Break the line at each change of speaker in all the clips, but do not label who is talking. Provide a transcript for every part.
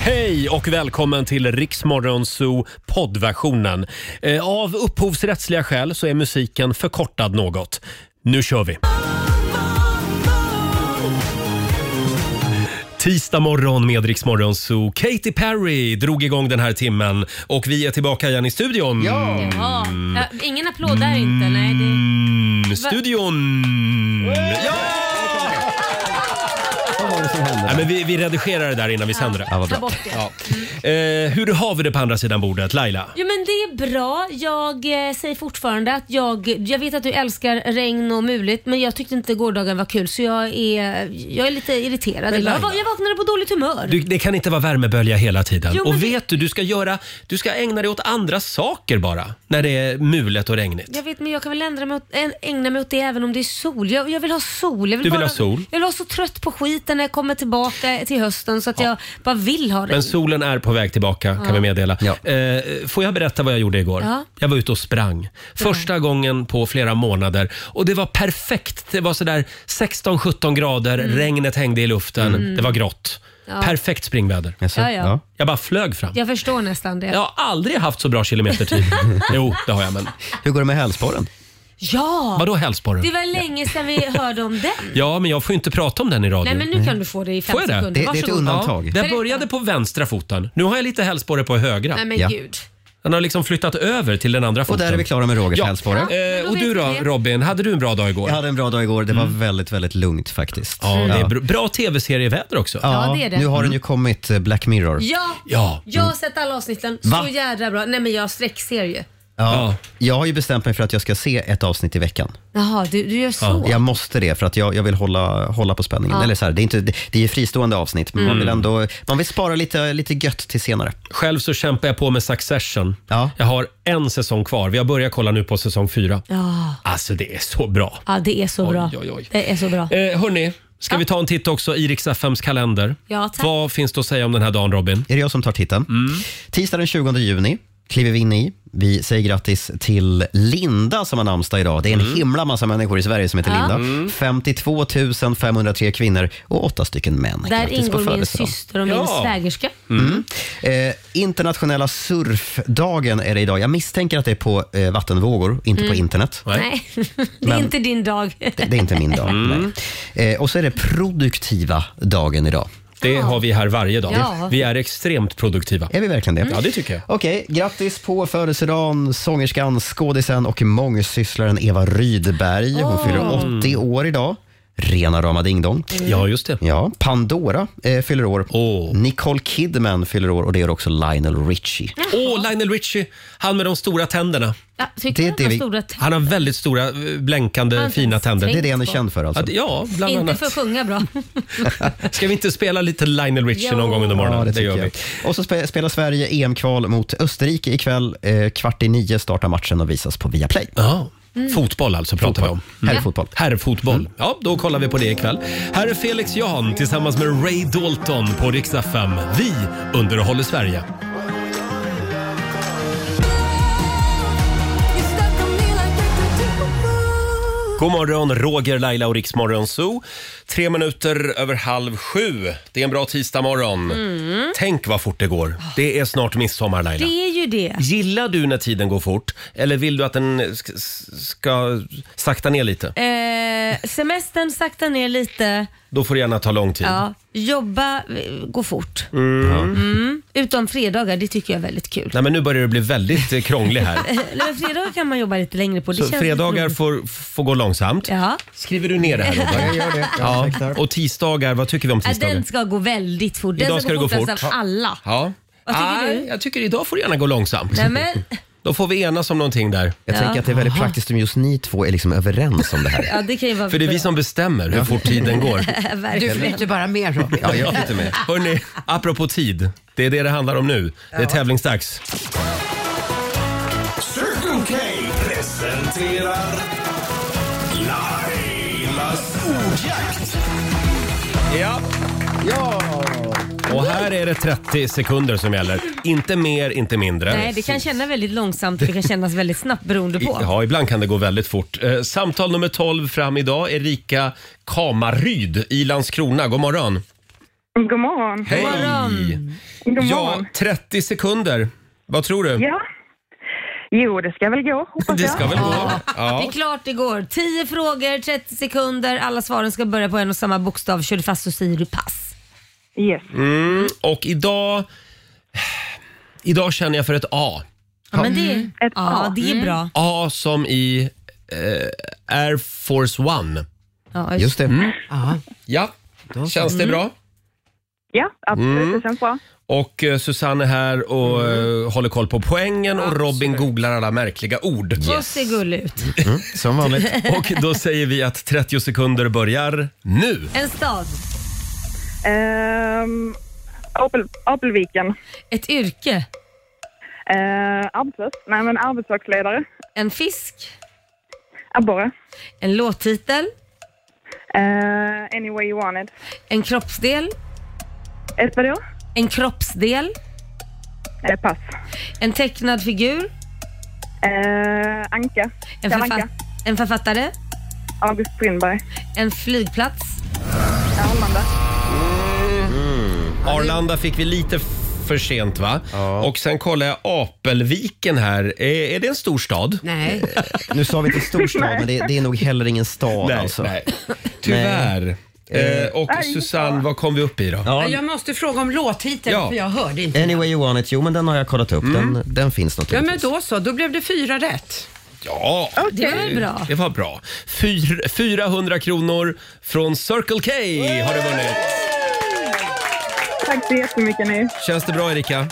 Hej och välkommen till Riksmorgonzoo poddversionen. Eh, Av upphovsrättsliga skäl så är musiken förkortad något. Nu kör vi! Tisdag morgon med Riksmorgonzoo. Katy Perry drog igång den här timmen och vi är tillbaka igen i studion.
Ja. Ja, ingen applåd där inte. Nej, det...
Mm, studion! Mm. Ja!
Vad var det som hände?
Nej, men vi, vi redigerar det där innan vi sänder det.
Ta bort det.
Ja. Eh, hur har vi det på andra sidan bordet, Laila?
Jo men det är bra. Jag eh, säger fortfarande att jag, jag vet att du älskar regn och muligt men jag tyckte inte gårdagen var kul så jag är, jag är lite irriterad.
Men
idag. Jag,
Laila-
va- jag vaknade på dåligt humör.
Du, det kan inte vara värmebölja hela tiden.
Jo, men
och
det-
vet du, du ska, göra, du ska ägna dig åt andra saker bara när det är mulet och regnigt.
Jag vet men jag kan väl ändra mig åt, ä- ägna mig åt det även om det är sol. Jag, jag vill ha sol. Jag vill
Du vill ha sol?
Jag vill vara så trött på skiten när jag kommer tillbaka till hösten så att jag bara vill ha regn.
Men solen är på väg tillbaka kan vi meddela.
Ja.
Eh, får jag berätta vad jag gjorde igår?
Ja.
Jag var ute och sprang. Första gången på flera månader. Och det var perfekt. Det var sådär 16-17 grader,
Mm.
regnet hängde i luften. Det var grått. Perfekt springväder.
Jaså?
Ja, ja.
Jag bara flög fram.
Jag förstår nästan det.
Jag har aldrig haft så bra kilometertid. jo, det har jag men.
Hur går det med hälsporren?
ja.
Vadå hälsporren?
Det var länge sedan vi hörde om den.
Ja, men jag får ju inte prata om den i radio. Mm.
Nej men nu kan du få det i fem
Får jag det?
sekunder.
Det, det är ett
Varsågod.
undantag.
Ja, den började på vänstra foten. Nu har jag lite hälsporre på högra.
Nej men
Ja.
gud.
Den har liksom flyttat över till den andra foten.
Och där är vi klara med Rogers hälsporre.
Ja. men
Eh,
då
och
vet
du
vi
då
det.
Robin, hade du en bra dag igår? Mm.
Jag hade en bra dag igår. Det var väldigt, väldigt lugnt faktiskt.
Ja, det är bra, bra tv-serieväder också. Mm.
Ja, det är det.
Nu har den ju kommit, eh, Black Mirror.
Ja.
Ja. Mm.
Jag har sett alla avsnitten.
Va?
Så jädra bra. Nej men jag sträckser ju.
Ja.
Jag har ju bestämt mig för att jag ska se ett avsnitt i veckan.
Jaha, du, du gör så.
Jag måste det för att jag, jag vill hålla, hålla på spänningen. Eller så här, det, är inte, det, det är ju fristående avsnitt, men
Mm.
man vill ändå man vill spara lite, lite gött till senare.
Själv så kämpar jag på med Succession.
Ja.
Jag har en säsong kvar. Vi har börjat kolla nu på säsong fyra.
Ja.
Alltså det är så bra.
ja, det är så
Oj,
bra.
oj, oj.
Det är så bra.
Eh, hörni, ska vi ta en titt också i Rix FMs kalender?
Ja, tack.
Vad finns det att säga om den här dagen Robin? Mm.
Är det jag som tar titeln? Tisdag den 20 juni kliver vi in i. Vi säger grattis till Linda som har namnsdag idag. Det är en
Mm.
himla massa människor i Sverige som heter Linda. 52 503 kvinnor och åtta stycken män.
Där
Grattis på
ingår min
födelsedagen.
syster och min
Ja. Mm.
svägerska.
Eh, internationella surfdagen är det idag. Jag misstänker att det är på eh, vattenvågor, inte
Mm.
på internet.
Nej, det är
Men-
inte din dag.
Det, det är inte min dag.
Mm.
nej. Eh, och så är det produktiva dagen idag.
Det har vi här varje dag.
Ja.
Vi är extremt produktiva.
Är vi verkligen det?
Ja, det tycker jag.
Okej, grattis på födelsedagen sångerskan, skådisen och mångsysslaren Eva Rydberg. Hon fyller 80 år idag. Rena rama ding-dong.
Ja, just det.
Ja, Pandora eh, fyller år.
Åh.
Nicole Kidman fyller år och det gör också Lionel Richie.
Åh, Lionel Richie, han med de stora tänderna.
Ja,
Det är
tycker
det
du att
vi-
vi... stora t-
Han har väldigt stora, eh, blänkande,
Han har
fina
inte ens
tänder.
Det är det han är känd för
Ja,
alltså. Mm.
det- Ja, bland
Inte
annat.
för att sjunga bra.
Ska vi inte spela lite Lionel Richie
Jo.
någon gång under morgonen?
Ja, det
det
tycker
gör vi.
jag. Och så spe- spelar Sverige EM-kval mot Österrike ikväll. Eh, kvart i nio startar matchen och visas på Viaplay. Mm.
Ja. Fotboll alltså pratar vi om. Mm.
Herrfotboll.
Herrfotboll.
Mm.
Ja, då kollar vi på det ikväll. Här är Felix Jan tillsammans med Ray Dalton på Rix FM. Vi underhåller Sverige. God morgon, Roger, Laila och Riksmorgon Zoo. Tre minuter över halv sju. Det är en bra tisdagmorgon.
Mm.
Tänk vad fort det går. Det är snart midsommar, Laila.
Det är ju det.
Gillar du när tiden går fort eller vill du att den sk- ska sakta ner lite?
Eh, semestern sakta ner lite.
Då får det gärna ta lång tid.
Ja, jobba eh, går fort. Mm. Utom fredagar, det tycker jag är väldigt kul.
Nej, men nu börjar det bli väldigt eh, krånglig här.
Eller men fredagar kan man jobba lite längre på. Det
Så
känns
fredagar
lite roligt.
får, får gå långsamt.
Ja.
Skriver du ner det här Robert?
Jag gör det.
Ja.
Jag ursäktar.
Och tisdagar, vad tycker vi om
Ja,
tisdagar?
Den ska gå väldigt fort. Den
Idag ska
gå
det gå
fortast
fort.
av alla.
Ja.
Vad tycker
Nej,
du?
Jag tycker idag får det gärna gå långsamt.
Nej, men,
Då får vi enas om någonting där.
Jag tänker att det är väldigt praktiskt om just ni två är liksom överens om det här.
ja, det kan ju vara
För det är vi som bestämmer hur fort tiden går.
Du
Verkligen.
flyter bara mer Robin.
Ja, jag flyter med.
Hörni, apropå tid. Det är det det handlar om nu. Det är tävlingsdags.
Circle K presenterar Lailas ordjakt.
Ja. Och här är det 30 sekunder som gäller. Inte mer, inte mindre.
Nej, det kan kännas väldigt långsamt och det kan kännas väldigt snabbt beroende
I-
på.
Ja, ibland kan det gå väldigt fort. Eh, samtal nummer 12 fram idag. Erika Kamaryd i Landskrona. God morgon.
Mm, God morgon.
Hej!
God
Ja,
morgon.
30 sekunder. Vad tror du?
Ja. Jo, det ska väl gå, hoppas
Det
jag.
ska väl gå?
Det
Ja.
är klart det går. 10 frågor, 30 sekunder. Alla svaren ska börja på en och samma bokstav. Kör du fast så säger du pass.
Yes.
Mm, och idag... Idag känner jag för ett A.
Ja, men
Mm.
det,
Ett
ja,
A.
det
Mm.
är bra.
A som i eh, Air Force One.
Ja, Mm.
Just det.
Ja.
Ja, Mm. känns det
Mm.
bra? Mm.
Ja, absolut. Det känns bra.
Och eh, Susanne är här och
Mm.
eh, håller koll på poängen och Robin googlar alla märkliga ord.
Så ser gullig ut.
Mm, Som vanligt.
Och då säger vi att 30 sekunder börjar nu.
En stad,
Ehm, Apel, Apelviken.
ett yrke,
Ehm, arbetslös. Nej, men arbetslagsledare.
en fisk,
Abborre.
en låttitel,
Ehm, any way you want it.
en kroppsdel,
Ett vadå?
en kroppsdel,
Eh, pass.
en tecknad figur,
Ehm, Anka.
en,
Kalle
förfa-
Anka.
en författare,
August Strindberg.
en flygplats.
Eh, Arlanda.
Mm.
Arlanda fick vi lite f- för sent va? Och sen kollar jag Apelviken här. Är, är det en stor stad?
Nej.
Nu sa vi inte storstad, men det, det är nog heller ingen stad alltså.
Tyvärr. Eh, och Susanne, vad kom vi upp i då?
Jag måste fråga om låttiteln
Ja.
för jag hörde inte.
Anyway you want it, jo men den har jag kollat upp.
Mm.
Den, den finns
Ja
naturligtvis.
men då så, då blev det fyra rätt.
Ja,
Det var väl bra.
det var bra. Fyr, 400 kronor från Circle K har du vunnit.
Tack så jättemycket ni.
Känns det bra Erika?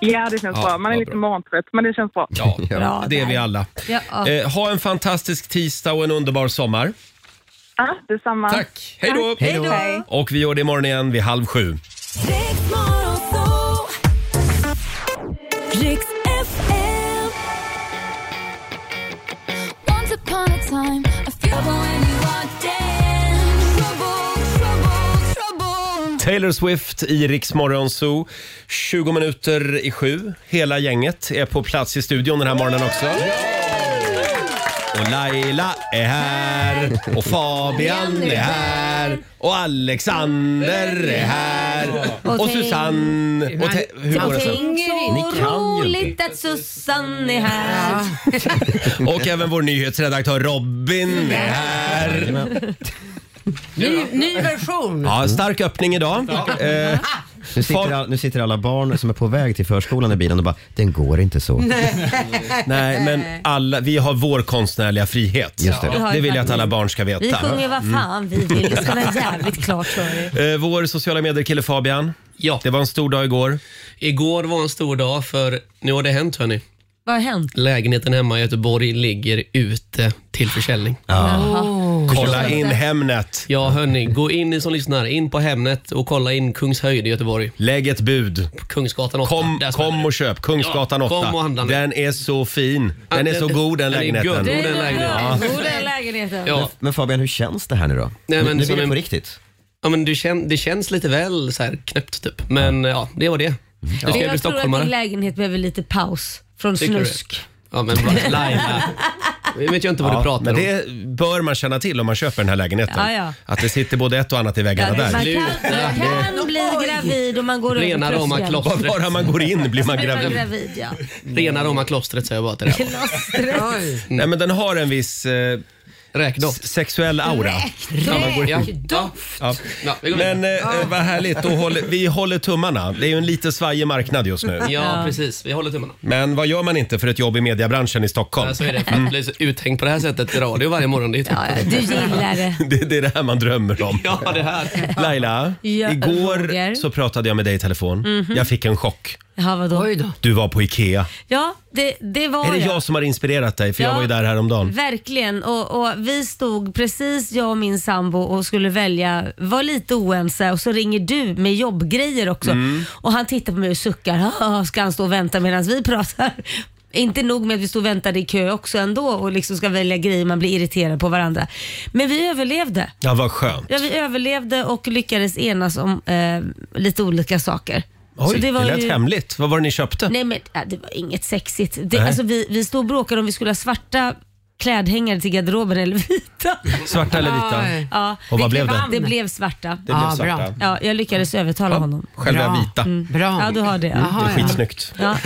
Ja, det känns
Ja,
bra. Man är
vad
lite
bra.
morgontrött, men det känns bra.
Ja,
Bra
det är
där.
vi alla.
Ja.
Eh, ha en fantastisk tisdag och en underbar sommar.
Ja, detsamma.
Tack! Hej då!
Hej då.
Och vi gör det imorgon igen vid halv sju.
Riks FM. Once upon a time, a few when you walked in. Trouble, trouble, trouble.
Taylor Swift i Rix Morgon Zoo. 20 minuter i sju. Hela gänget är på plats i studion den här morgonen också. Och Laila är här. Och Fabian är här. Och Alexander är här.
Och
Och Susanne. Och te- hur går det sen?
Tänk så
kan ju
roligt att Susanne är här.
Och även vår nyhetsredaktör Robin är här.
Ny, ny version.
Ja, stark öppning idag. Eh,
Nu sitter, all, nu sitter alla barn som är på väg till förskolan i bilen och bara, den går inte så.
nej, men alla, vi har vår konstnärliga frihet.
Just det.
Det vill jag att alla barn ska
Vi
veta.
sjunger vad fan vi vill. Det ska vara jävligt klart för er.
Eh, vår sociala medier-kille Fabian.
Ja,
Det var en stor dag igår.
igår var en stor dag för nu har det hänt hörni.
Vad har hänt?
Lägenheten hemma i Göteborg ligger ute till försäljning. Ja, Oh.
Kolla in Hemnet.
hörni, gå in ni som lyssnar, in på Hemnet och kolla in Kungshöjd i Göteborg.
Lägg ett bud.
På Kungsgatan 8.
Kom,
Där smäller
kom
det.
och köp. Kungsgatan
Ja,
8.
kom och handla nu.
den är så fin. Den är så god den
Den är
lägenheten.
god. Det är den lägenheten.
Jo, det är lägenheten.
Ja,
Men Fabian, hur känns det här nu då? Nu-
men
nu
som
blir det
en-
på riktigt.
ja men du kän, det känns lite väl så här knäppt typ. Men ja, det var
Mm.
det. Du ska jag bli
Jag tror att din
stockholmare.
lägenhet behöver lite paus från
Tycker du?
snusk.
Ja men bra. Laila. Nu vet jag inte vad du pratar
men
om.
det bör man känna till om man köper den här lägenheten.
Ja, ja.
Att det sitter både ett och annat i
Ja,
väggarna
man,
där.
kan,
Sluta.
man kan bli gravid om man går
Rena
över
rama
tröskeln.
klostret.
Bara man går in blir man
Man är
gravid.
gravid ja.
Rena rama klostret säger jag bara till det. här.
Oj.
Nej, men den har en viss eh,
Räkdoft.
sexuell aura.
Ja.
Doft.
Ja.
Ja, vi går vidare.
Men eh, vad härligt. Då håller, vi håller tummarna. Det är ju en lite svajig marknad just nu.
Ja, precis. Vi håller tummarna.
Men vad gör man inte för ett jobb i mediebranschen i Stockholm? Mm.
Ja, så är det. För att bli så uthängd på det här sättet i radio varje morgon, det är
Ja, ja. Du gillar det.
Det, det är det här man drömmer om.
Ja, det här.
Laila,
Ja,
igår
Roger.
så pratade jag med dig i telefon.
Mhm.
Jag fick en chock.
Ja, vadå?
Oj då.
Du var på IKEA.
Ja, det, det var
är det jag som har inspirerat dig? För jag
Ja.
var ju där häromdagen.
Verkligen. Och, och Vi stod precis, jag och min sambo, och skulle välja, var lite oense och så ringer du med jobbgrejer också.
Mm.
Och Han tittar på mig och suckar. "Ah, Ska han stå och vänta medan vi pratar? Inte nog med att vi stod och väntade i kö också ändå och liksom ska välja grejer, man blir irriterad på varandra. Men vi överlevde.
Ja, vad skönt.
Ja, vi överlevde och lyckades enas om eh, lite olika saker.
Oj,
Så
det,
var
lät
ju-
hemligt. Vad var det ni köpte?
Nej men äh, det var inget sexigt. Det,
Nej.
alltså, vi, vi stod och bråkade om vi skulle ha svarta klädhängare till garderoben eller vita.
Svarta eller vita?
Oj.
Ja,
Och
vilket
vad blev det?
vann? Det blev svarta.
Det blev
Ja,
svarta.
bra.
Ja, jag lyckades övertala honom.
Själv är jag
Bra.
vita. Mm,
Bra.
Ja, Mm. du har det. Ja.
Det
Jaha,
är skitsnyggt.
Ja.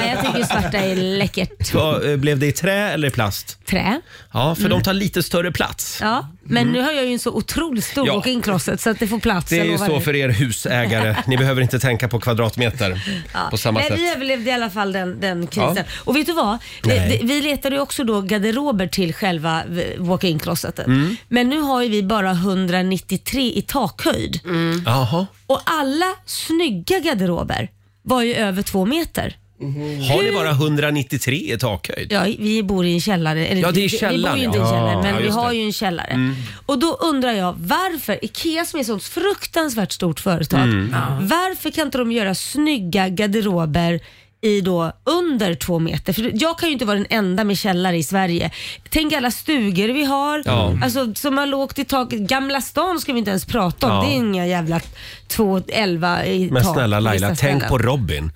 Nej, jag tycker svarta är läckert.
Vad, eh, Blev det i trä eller i plast?
Trä. Mm.
Ja, för de tar lite större plats.
Ja, men nu har jag ju en så otroligt stor
Mm. Ja.
ja. walk-in-closet så att det får plats.
Det är
jag
ju
lovar
så
dig.
för er husägare. Ni behöver inte tänka på kvadratmeter
Ja.
på samma
Nej,
sätt.
Vi överlevde i alla fall den, den krisen.
Ja.
Och vet du vad? Det,
Nej.
det, vi letade ju också då garderober till själva v- walk-in-closeten.
Mm.
Men nu har ju vi bara 193 i takhöjd.
Jaha.
Och alla snygga garderober var ju över två meter.
Mm-hmm. Har ni bara 193 i takhöjd?
Ja, vi bor i en källare. Eller,
Ja, det
vi-
är
Vi
källaren,
bor ju inte i
ja.
en källare,
Ja,
men vi
just
har
det.
ju en källare.
Mm.
Och då undrar jag varför IKEA som är ett sånt fruktansvärt stort företag,
Mm.
varför kan inte de göra snygga garderober i då under två meter. För jag kan ju inte vara den enda med källare i Sverige. Tänk alla stugor vi har,
Ja.
alltså, som har lågt i taket. Gamla stan ska vi inte ens prata om.
Ja.
Det är inga jävla 2,11 i
Men
tak
snälla
på
Laila,
vissa
tänk
ställen.
på Robin.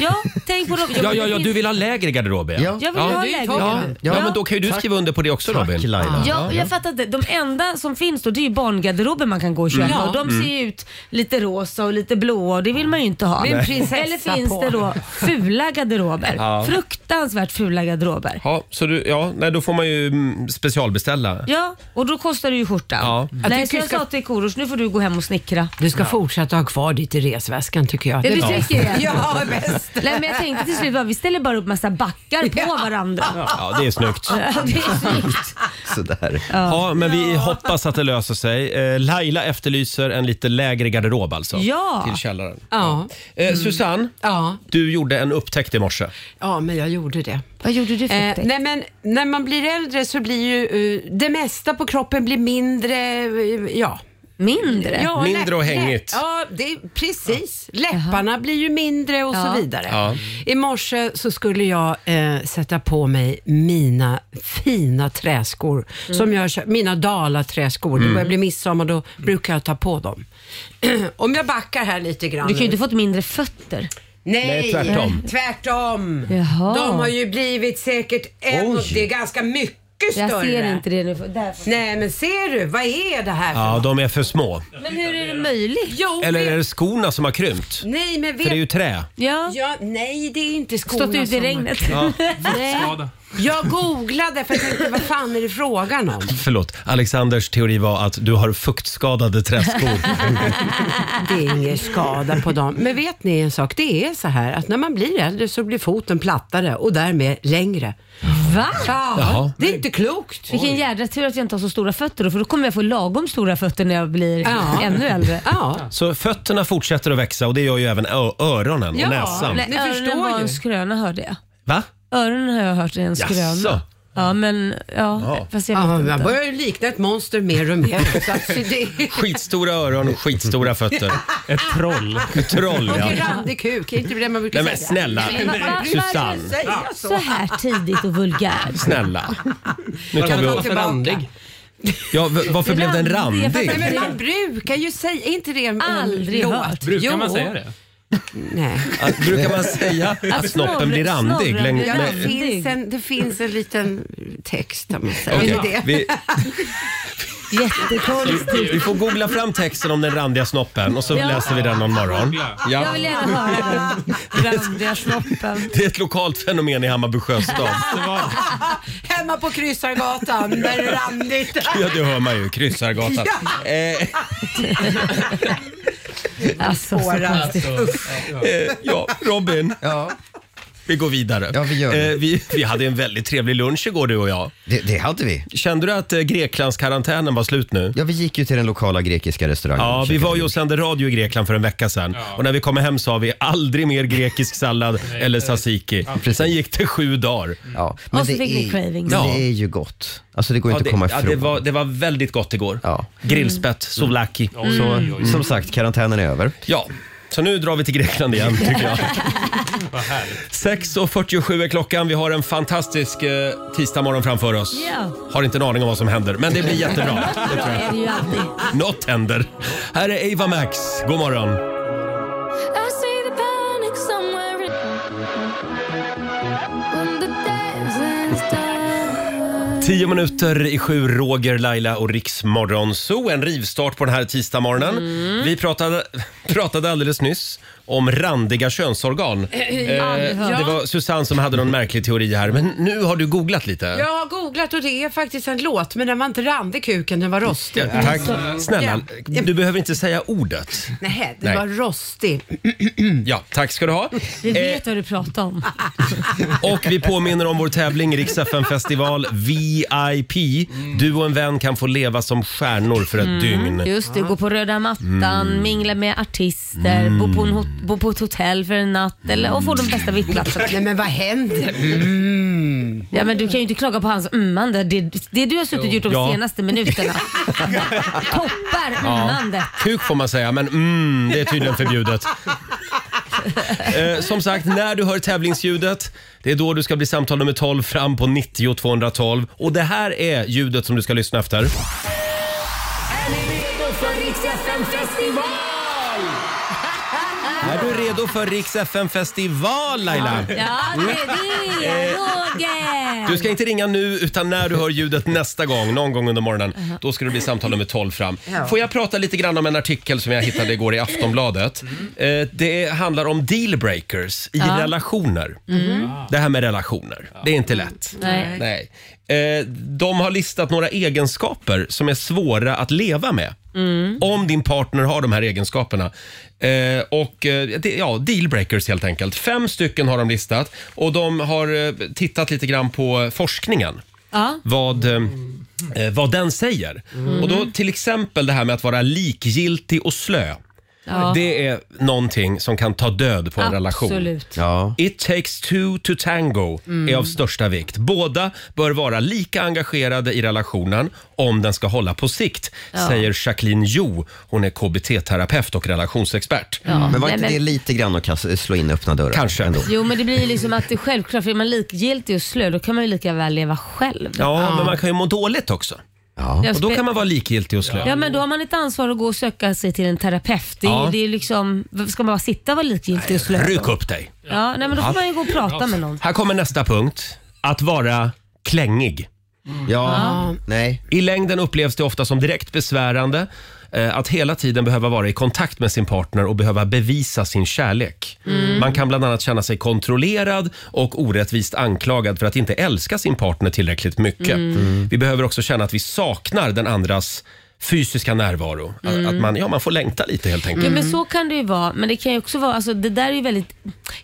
Ja, tänk på dem.
Ja, ja, ja, du vill ha lägre garderob ja.
Ja.
Jag vill ha
det är ju
lägenhet.
taket.
Ja, ja,
Ja.
men då kan ju du skriva under på det också
Tack
Robin.
Laila.
Ja, och jag fattar inte. De enda som finns då det är ju barngarderober man kan gå och köpa
Ja. Mm.
och de ser ju ut lite rosa och lite blåa och det vill man ju inte ha.
Det är en prinsessa
Eller finns
på.
det då fula garderober?
Ja.
Fruktansvärt fula garderober.
Ja, så du, ja, nej, då får man ju mm, specialbeställa.
Ja, och då kostar det ju skjortan.
Ja.
Jag
Nej,
tycker
så jag
ska-
sa till Korosh, nu får du gå hem och snickra.
Du ska fortsätta ha kvar ditt i resväskan tycker jag.
Det du tycker jag.
Ja, bäst.
Nej, men jag tänkte till slut bara, vi ställer bara upp massa backar på varandra.
Ja, det är snyggt.
Ja, det är snyggt.
Sådär.
Ja, men vi hoppas att det löser sig. Eh, Laila efterlyser en lite lägre garderob alltså.
Ja.
Till källaren.
Ja.
Eh, Susanne,
Ja.
du gjorde en upptäckt i morse.
ja, men jag gjorde det.
Vad gjorde du för
Eh,
upptäckt?
nej men när man blir äldre så blir ju eh, det mesta på kroppen blir mindre, eh, ja.
Mindre?
ja
Mindre
läpp-
och
läpp-
hängigt.
Ja, det, är- precis. Läpparna blir ju mindre och
Ja.
så vidare.
Ja.
I morse så skulle jag eh, sätta på mig mina fina träskor,
Mm.
som jag, kö- mina dalaträskor.
Mm.
Det börjar bli midsommar, då brukar jag ta på dem. Om jag backar här lite grann.
Du kan ju
nu.
inte fått mindre fötter.
Nej,
Nej, tvärtom.
tvärtom.
Jaha.
De har ju blivit säkert en och det är ganska mycket större.
Jag ser inte det nu. Därför.
Nej, men ser du? Vad är det här för
Ja,
något?
de är för små.
Men hur är det möjligt?
Jo,
Eller
vet-
är det skorna som har krympt?
Nej, men
För
vet...
det är ju trä.
Ja.
ja, nej, det är inte skorna
Stått ute i
som-
regnet.
Skada.
Jag googlade för jag tänkte, vad fan är det frågan om?
Förlåt, Alexanders teori var att du har fuktskadade träskor.
Det är ingen skada på dem. Men vet ni en sak? Det är så här att när man blir äldre så blir foten plattare och därmed längre.
Va?
Jaha.
Ja, Ah, det är inte klokt.
Vilken jädra tur att jag inte har så stora fötter då, för då kommer jag få lagom stora fötter när jag blir
Ja.
ännu äldre.
Ja,
Så fötterna fortsätter att växa och det gör ju även ö- öronen och
Ja.
näsan.
Nej,
Ni
öronen
förstår
var
ju.
en skröna hörde jag.
Va?
Öronen har jag hört är en
Jaså?
skröna. Ja men ja, fast jag
ja
vet
jag
inte.
börjar ju likna ett monster mer och mer. Så att det...
Skitstora öron och skitstora fötter. Ett troll. Ett troll,
Och
ja.
en randig kuk, är inte det man brukar
Nej men
säga?
snälla,
Varför
Susanne.
säger jag
Så
så?
här tidigt och vulgärt.
Snälla. Nu tar
Kan
vi
du vara
upp.
för randig?
Ja, v- varför blev den
Randig, jag
randig?
fattar
Nej, men man brukar ju säga, är inte det en en
Aldrig
låt?
hört.
Brukar man
Jo.
säga det?
Nej.
Att, brukar man säga att
Att
snoppen
snorren-
blir randig?
snorren
Läng-
blir
Ja, det,
med-
randig.
finns en, det finns en liten text där man
Okej,
säger det.
vi,
Jättekonstigt.
vi får googla fram texten om den randiga snoppen och så
Ja.
läser vi den någon morgon.
Jag vill gärna höra den randiga snoppen.
Det är ett lokalt fenomen i Hammarby sjöstad.
Hemma på Kryssargatan, där är det randigt.
Ja, det hör man ju. Kryssargatan.
Ja.
Eh,
Alltså, så konstigt.
eh, ja, Robin.
Ja.
Vi går vidare.
Ja, vi gör det.
Eh, vi, vi hade en väldigt trevlig lunch igår du och jag.
Det, det hade vi.
Kände du att eh, Greklandskarantänen var slut nu?
Ja, vi gick ju till den lokala grekiska restaurangen.
Ja,
och
vi
käkade
var ju och sände radio i Grekland för en vecka sedan. Och när vi kom hem sa vi aldrig mer grekisk sallad eller tzatziki. sen gick det sju dagar.
Ja, men
Och så
det,
fick vi
är,
cravings.
men
Ja.
det är ju gott. Alltså det går
Ja,
inte
det,
att komma
ja,
ifrån.
det, var, det var väldigt gott igår.
Ja.
Mm.
Mm.
Grillspett, souvlaki. mm.
Så, Som sagt, karantänen är över.
Ja, så nu drar vi till Grekland igen tycker jag. 6.47 är klockan. Vi har en fantastisk eh, tisdagmorgon framför oss.
Ja.
Har inte en aning om vad som händer, men det blir jättebra.
Bra är det ju alltid.
Något händer. Här är Ava Max. God morgon.
I see the panic somewhere in- when the dancing's done.
Tio minuter i sju, Roger, Laila och Riksmorgon. Så en rivstart på den här tisdagsmorgonen.
Mm.
Vi pratade, pratade alldeles nyss om randiga könsorgan.
Eh,
Eh,
ja.
Det var Susanne som hade någon märklig teori här, men nu har du googlat lite.
Jag har googlat och det är faktiskt en låt, men den var inte randig kuken, den var rostig.
Tack. Snälla,
Alltså, Ja.
du behöver inte säga ordet.
Nej, den
Nej.
var rostig.
Ja, tack ska du ha.
Vi
Eh,
vet vad du pratar om.
Och vi påminner om vår tävling Rix FM festival VIP. Du och en vän kan få leva som stjärnor för ett dygn.
Mm.
Mm.
Just det, gå på röda mattan, mingla med artister, bo, på en hot- bo på ett hotell för en natt eller, och få de bästa VIP-platserna.
Nej men vad händer?
Mm. Ja, men du kan ju inte klaga på hans ummande. Det, det du har suttit och gjort de
Ja.
senaste minuterna toppar ummandet.
Kuk får man säga, men mm, det är tydligen förbjudet. Eh, som sagt, när du hör tävlingsljudet, det är då du ska bli samtal nummer 12 fram på 90 212. Och det här är ljudet som du ska lyssna efter. Är du redo för Rix FM festival Laila?
Ja, det är det, Roger!
Eh, Du ska inte ringa nu utan när du hör ljudet nästa gång, någon gång under morgonen.
Uh-huh.
Då ska det bli samtal nummer 12 fram. Får jag prata lite grann om en artikel som jag hittade igår i Aftonbladet.
Mm.
Eh, Det handlar om dealbreakers i relationer. Det här med relationer, det är inte lätt.
Mm. Nej.
Nej. Eh, De har listat några egenskaper som är svåra att leva med.
Mm.
Om din partner har de här egenskaperna. Eh, och eh, det, ja, Dealbreakers helt enkelt. Fem stycken har de listat och de har eh, tittat lite grann på forskningen.
Ja.
Vad, eh, eh, vad den säger.
Mm.
Och då Till exempel det här med att vara likgiltig och slö.
Ja.
Det är någonting som kan ta död på en relation.
Absolut.
Ja.
It takes two to tango
Mm.
är av största vikt. Båda bör vara lika engagerade i relationen om den ska hålla på sikt, säger Jacqueline Jo. Hon är KBT-terapeut och relationsexpert.
Men var
Nej,
inte det lite grann att kasta- slå in öppna dörrar?
Kanske.
Ändå.
Jo men det blir ju liksom att det självklart, är man likgiltig och slö då kan man ju lika väl leva själv.
Ja, men man kan ju må dåligt också.
Jag
Och då
spe-
kan man vara likgiltig och slö.
Ja men då har man ett ansvar att gå och söka sig till en terapeut. Det är,
Ja.
det är liksom, ska man bara sitta och vara likgiltig och slö?
Ryck upp dig.
Ja, nej men då får man ju gå och prata med någon.
Här kommer nästa punkt. Att vara klängig.
Mm. Ja, nej.
I längden upplevs det ofta som direkt besvärande eh, att hela tiden behöva vara i kontakt med sin partner och behöva bevisa sin kärlek.
Mm.
Man kan bland annat känna sig kontrollerad och orättvist anklagad för att inte älska sin partner tillräckligt mycket.
Mm.
Mm.
Vi behöver också känna att vi saknar den andras fysiska närvaro. Att- Att man, ja, man får längta lite helt enkelt.
Mm. Ja men så kan det ju vara. Men det kan ju också vara, alltså det där är ju väldigt...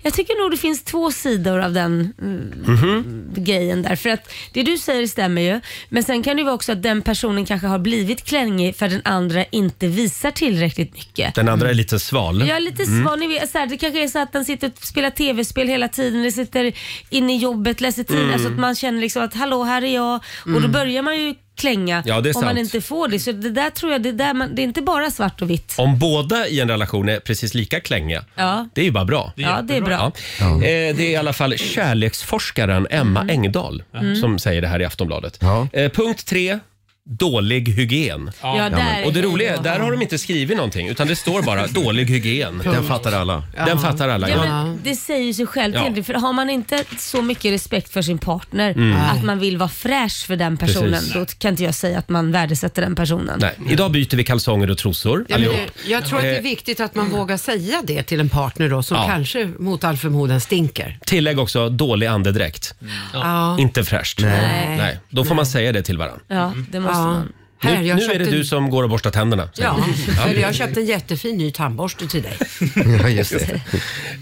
Jag tycker nog det finns två sidor av den mm, grejen där. För att det du säger stämmer ju. Men sen kan det ju vara också att den personen kanske har blivit klängig för att den andra inte visar tillräckligt mycket.
Den andra är lite sval. Mm.
Jag är lite svan. Ni vet, så här, det kanske är så att den sitter och spelar tv-spel hela tiden, den sitter inne i jobbet, läser tidningar.
Mm.
Så att man känner liksom att hallå, här är jag. Och då börjar man ju klänga
Ja, det är
om man
sant.
inte får det. Så det där tror jag, det, där man, det är inte bara svart och vitt.
Om båda i en relation är precis lika klängiga,
Ja.
det är ju bara bra.
Ja, det är bra.
Ja. Eh, Det är i alla fall kärleksforskaren Emma Engdahl Mm. som säger det här i Aftonbladet.
Ja.
Eh, Punkt tre, dålig hygien.
Ja, där
Och det
är
roliga är,
jag.
där har de inte skrivit någonting utan det står bara dålig hygien.
Den fattar alla.
Den fattar alla.
Ja,
Ja.
men det säger sig självt
Ja.
egentligen, för har man inte så mycket respekt för sin partner att man vill vara fräsch för den personen,
Mm. Precis.
då kan inte jag säga att man värdesätter den personen.
Nej, idag byter vi kalsonger och trosor
Ja, men
allihop.
det- Jag tror att det är viktigt att man vågar säga det till en partner då, som
Eh. Ja.
kanske mot all förmodan stinker.
Tillägg också dålig andedräkt.
Ja.
Inte fräscht. Nej. Då får man säga det till varandra.
Ja, det måste
ja.
man.
Här,
nu
jag
nu är
köpte
det du
en-
som går och borstar tänderna. säger
Ja,
du.
för jag köpte en jättefin ny tandborste till dig.
Mm.
Ja, just det.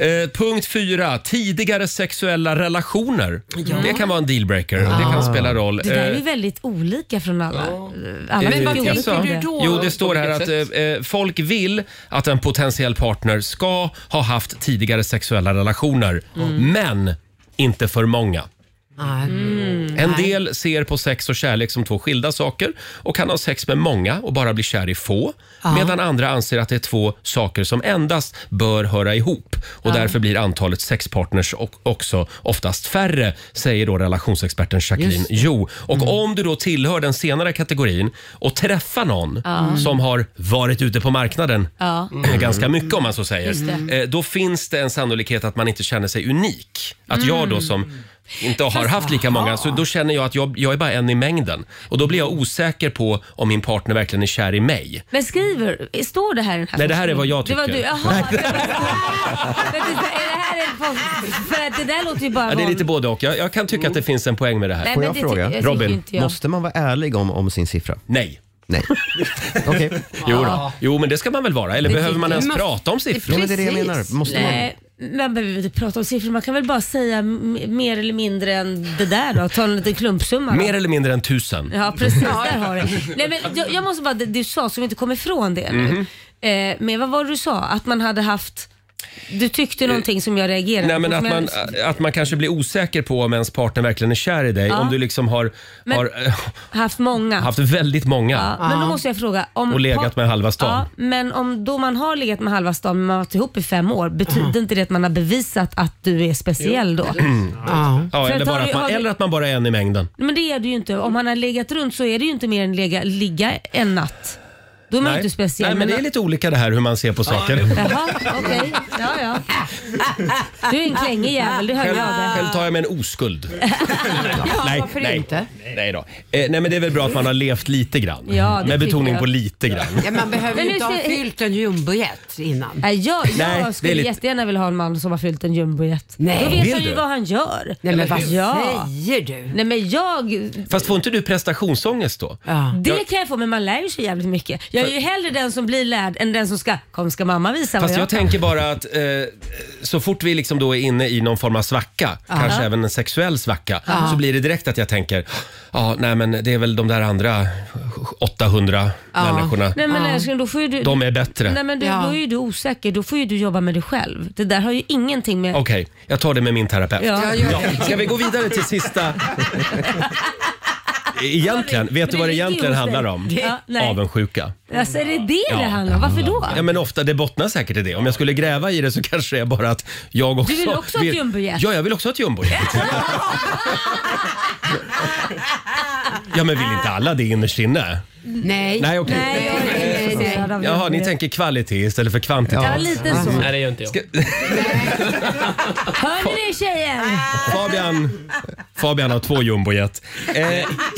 Eh, punkt fyra, tidigare sexuella relationer. Det kan vara en dealbreaker. Det kan
Ah.
spela roll.
Det där är
Eh,
ju väldigt olika från alla. alla
Eh,
tycker
vad
olika
tänker
om
du
det.
då?
Jo, det står
På
här
vilket
att
sätt?
eh, eh, folk vill att en potentiell partner ska ha haft tidigare sexuella relationer,
Mm.
men inte för många.
Ja.
Mm.
En del ser på sex och kärlek som två skilda saker och kan ha sex med många och bara bli kär i få. Medan andra anser att det är två saker som endast bör höra ihop. Och Därför blir antalet sexpartners och också oftast färre, säger då relationsexperten Jacqueline Jo. Och
Mm.
om du då tillhör den senare kategorin och träffar någon som har varit ute på marknaden
Mm. Ja.
ganska mycket om man så säger,
Just
eh, då finns det en sannolikhet att man inte känner sig unik. Att jag då som inte har haft lika många, så då känner jag att jag, jag är bara en i mängden. Och då blir jag osäker på om min partner verkligen är kär i mig.
Men skriver, står det här i den här
Nej, det här är vad jag
Det var
tycker.
du, jaha. Men titta, är det här en post? För att det där låter ju bara
Ja, det är lite
vanligt.
både och. Jag, jag kan tycka att det finns en poäng med det här.
Nej,
Får
men
jag
det
fråga?
tycker- jag tycker
Robin,
inte jag.
Måste man vara ärlig om, om sin siffra?
Nej.
Nej. Okej.
Jo, då. jo, men det ska man väl vara? Eller
Det
behöver
tycker
man ens
jag.
prata om
Ja,
siffror?
men det är det jag
Precis.
menar. Måste man?
Nej, man behöver inte prata om siffror. Man kan väl bara säga m- mer eller mindre än det där då. Ta en liten klumpsumma. då.
Mer eller mindre än tusen.
Ja precis, där har du det. Nej, men jag, jag måste bara, det du sa så vi inte kommer ifrån det
Mhm. Mm-hmm.
nu. Eh, men vad var det du sa? Att man hade haft, du tyckte någonting som jag reagerade
Eh, Nej, men
på.
att
som jag-
man, att man kanske blir osäker på om ens partner verkligen är kär i dig. Om du liksom har,
Men-
har eh,
haft många.
haft väldigt många.
Ja, men då måste jag fråga. Om
Och legat
par-
med halva stan.
Ja, men om då man har legat med halva stan men man har varit ihop i fem år, betyder
Mm.
inte det att man har bevisat att du är speciell då?
Ja,
Ja.
För
eller,
att har
bara
vi-
att man,
har vi-
eller att man bara är en i mängden.
Men det är du ju inte. Om han har legat runt så är det ju inte mer än lega, ligga en natt. Då är man ju inte speciell.
Nej, men det är lite olika det här hur man ser på saker.
Jaha, okej. Ja, ja. Du är en klängig jävel, det hör
Själv,
jag av dig.
själv tar jag med en oskuld. nej,
varför
nej,
inte?
Nej, då. Eh, nej, men det är väl bra att man har levt lite grann.
Ja, det
med betoning
tycker
på
jag.
lite grann.
Ja, man behöver
Men
ju
nu
inte ha
ser-
fyllt en jumbojet innan.
Nej, jag,
Nej,
jag
det är
skulle
lite-
jättegärna vilja ha en man som har fyllt en jumbojet.
Nej.
Då vet
Vill
jag ju
du?
vad han gör.
Nej, men vad
ja.
säger du?
Nej men jag...
Fast får inte du prestationsångest då?
Ja.
Det kan jag få, men man lär ju sig jävligt mycket. Jag är ju hellre den som blir lärd än den som ska, kom ska mamma visa
Fast
vad
jag
jag,
tänker bara att eh, så fort vi liksom då är inne i någon form av svacka, kanske även en sexuell svacka, så blir det direkt att jag tänker, ja, nej men det är väl de där andra 800 människorna,
Nej men älskling, då får ju du...
de är bättre.
Nej men du,
Ja.
då är ju du osäker. Då får ju du jobba med dig själv. Det där har ju ingenting med...
Okej, jag tar det med min terapeut.
Ja. Ja, gör
Ja. Ska vi gå vidare till sista? Egentligen,
Men
vet du vad det
ligger
egentligen
hos
handlar
dig.
om?
Ja, nej.
Avundsjuka.
Alltså är det det det handlar om? Varför då?
Ja, men ofta, det bottnar säkert i det. Om jag skulle gräva i det så kanske det är bara att jag också...
vill också ha ett jumbojet?
Ja, jag vill också ha ett jumbojet. ja, men vill inte alla det innerst inne?
Nej.
Nej, okej.
Nej, jag är inte
Nej, nej, nej.
intresserad av
Jaha, ni
jumbojet.
tänker kvalitet istället för kvantitet.
Ja, lite så.
Nej, det gör inte jag.
Hör ni det tjejer?
Fabian, Fabian har två jumbojet. Eh,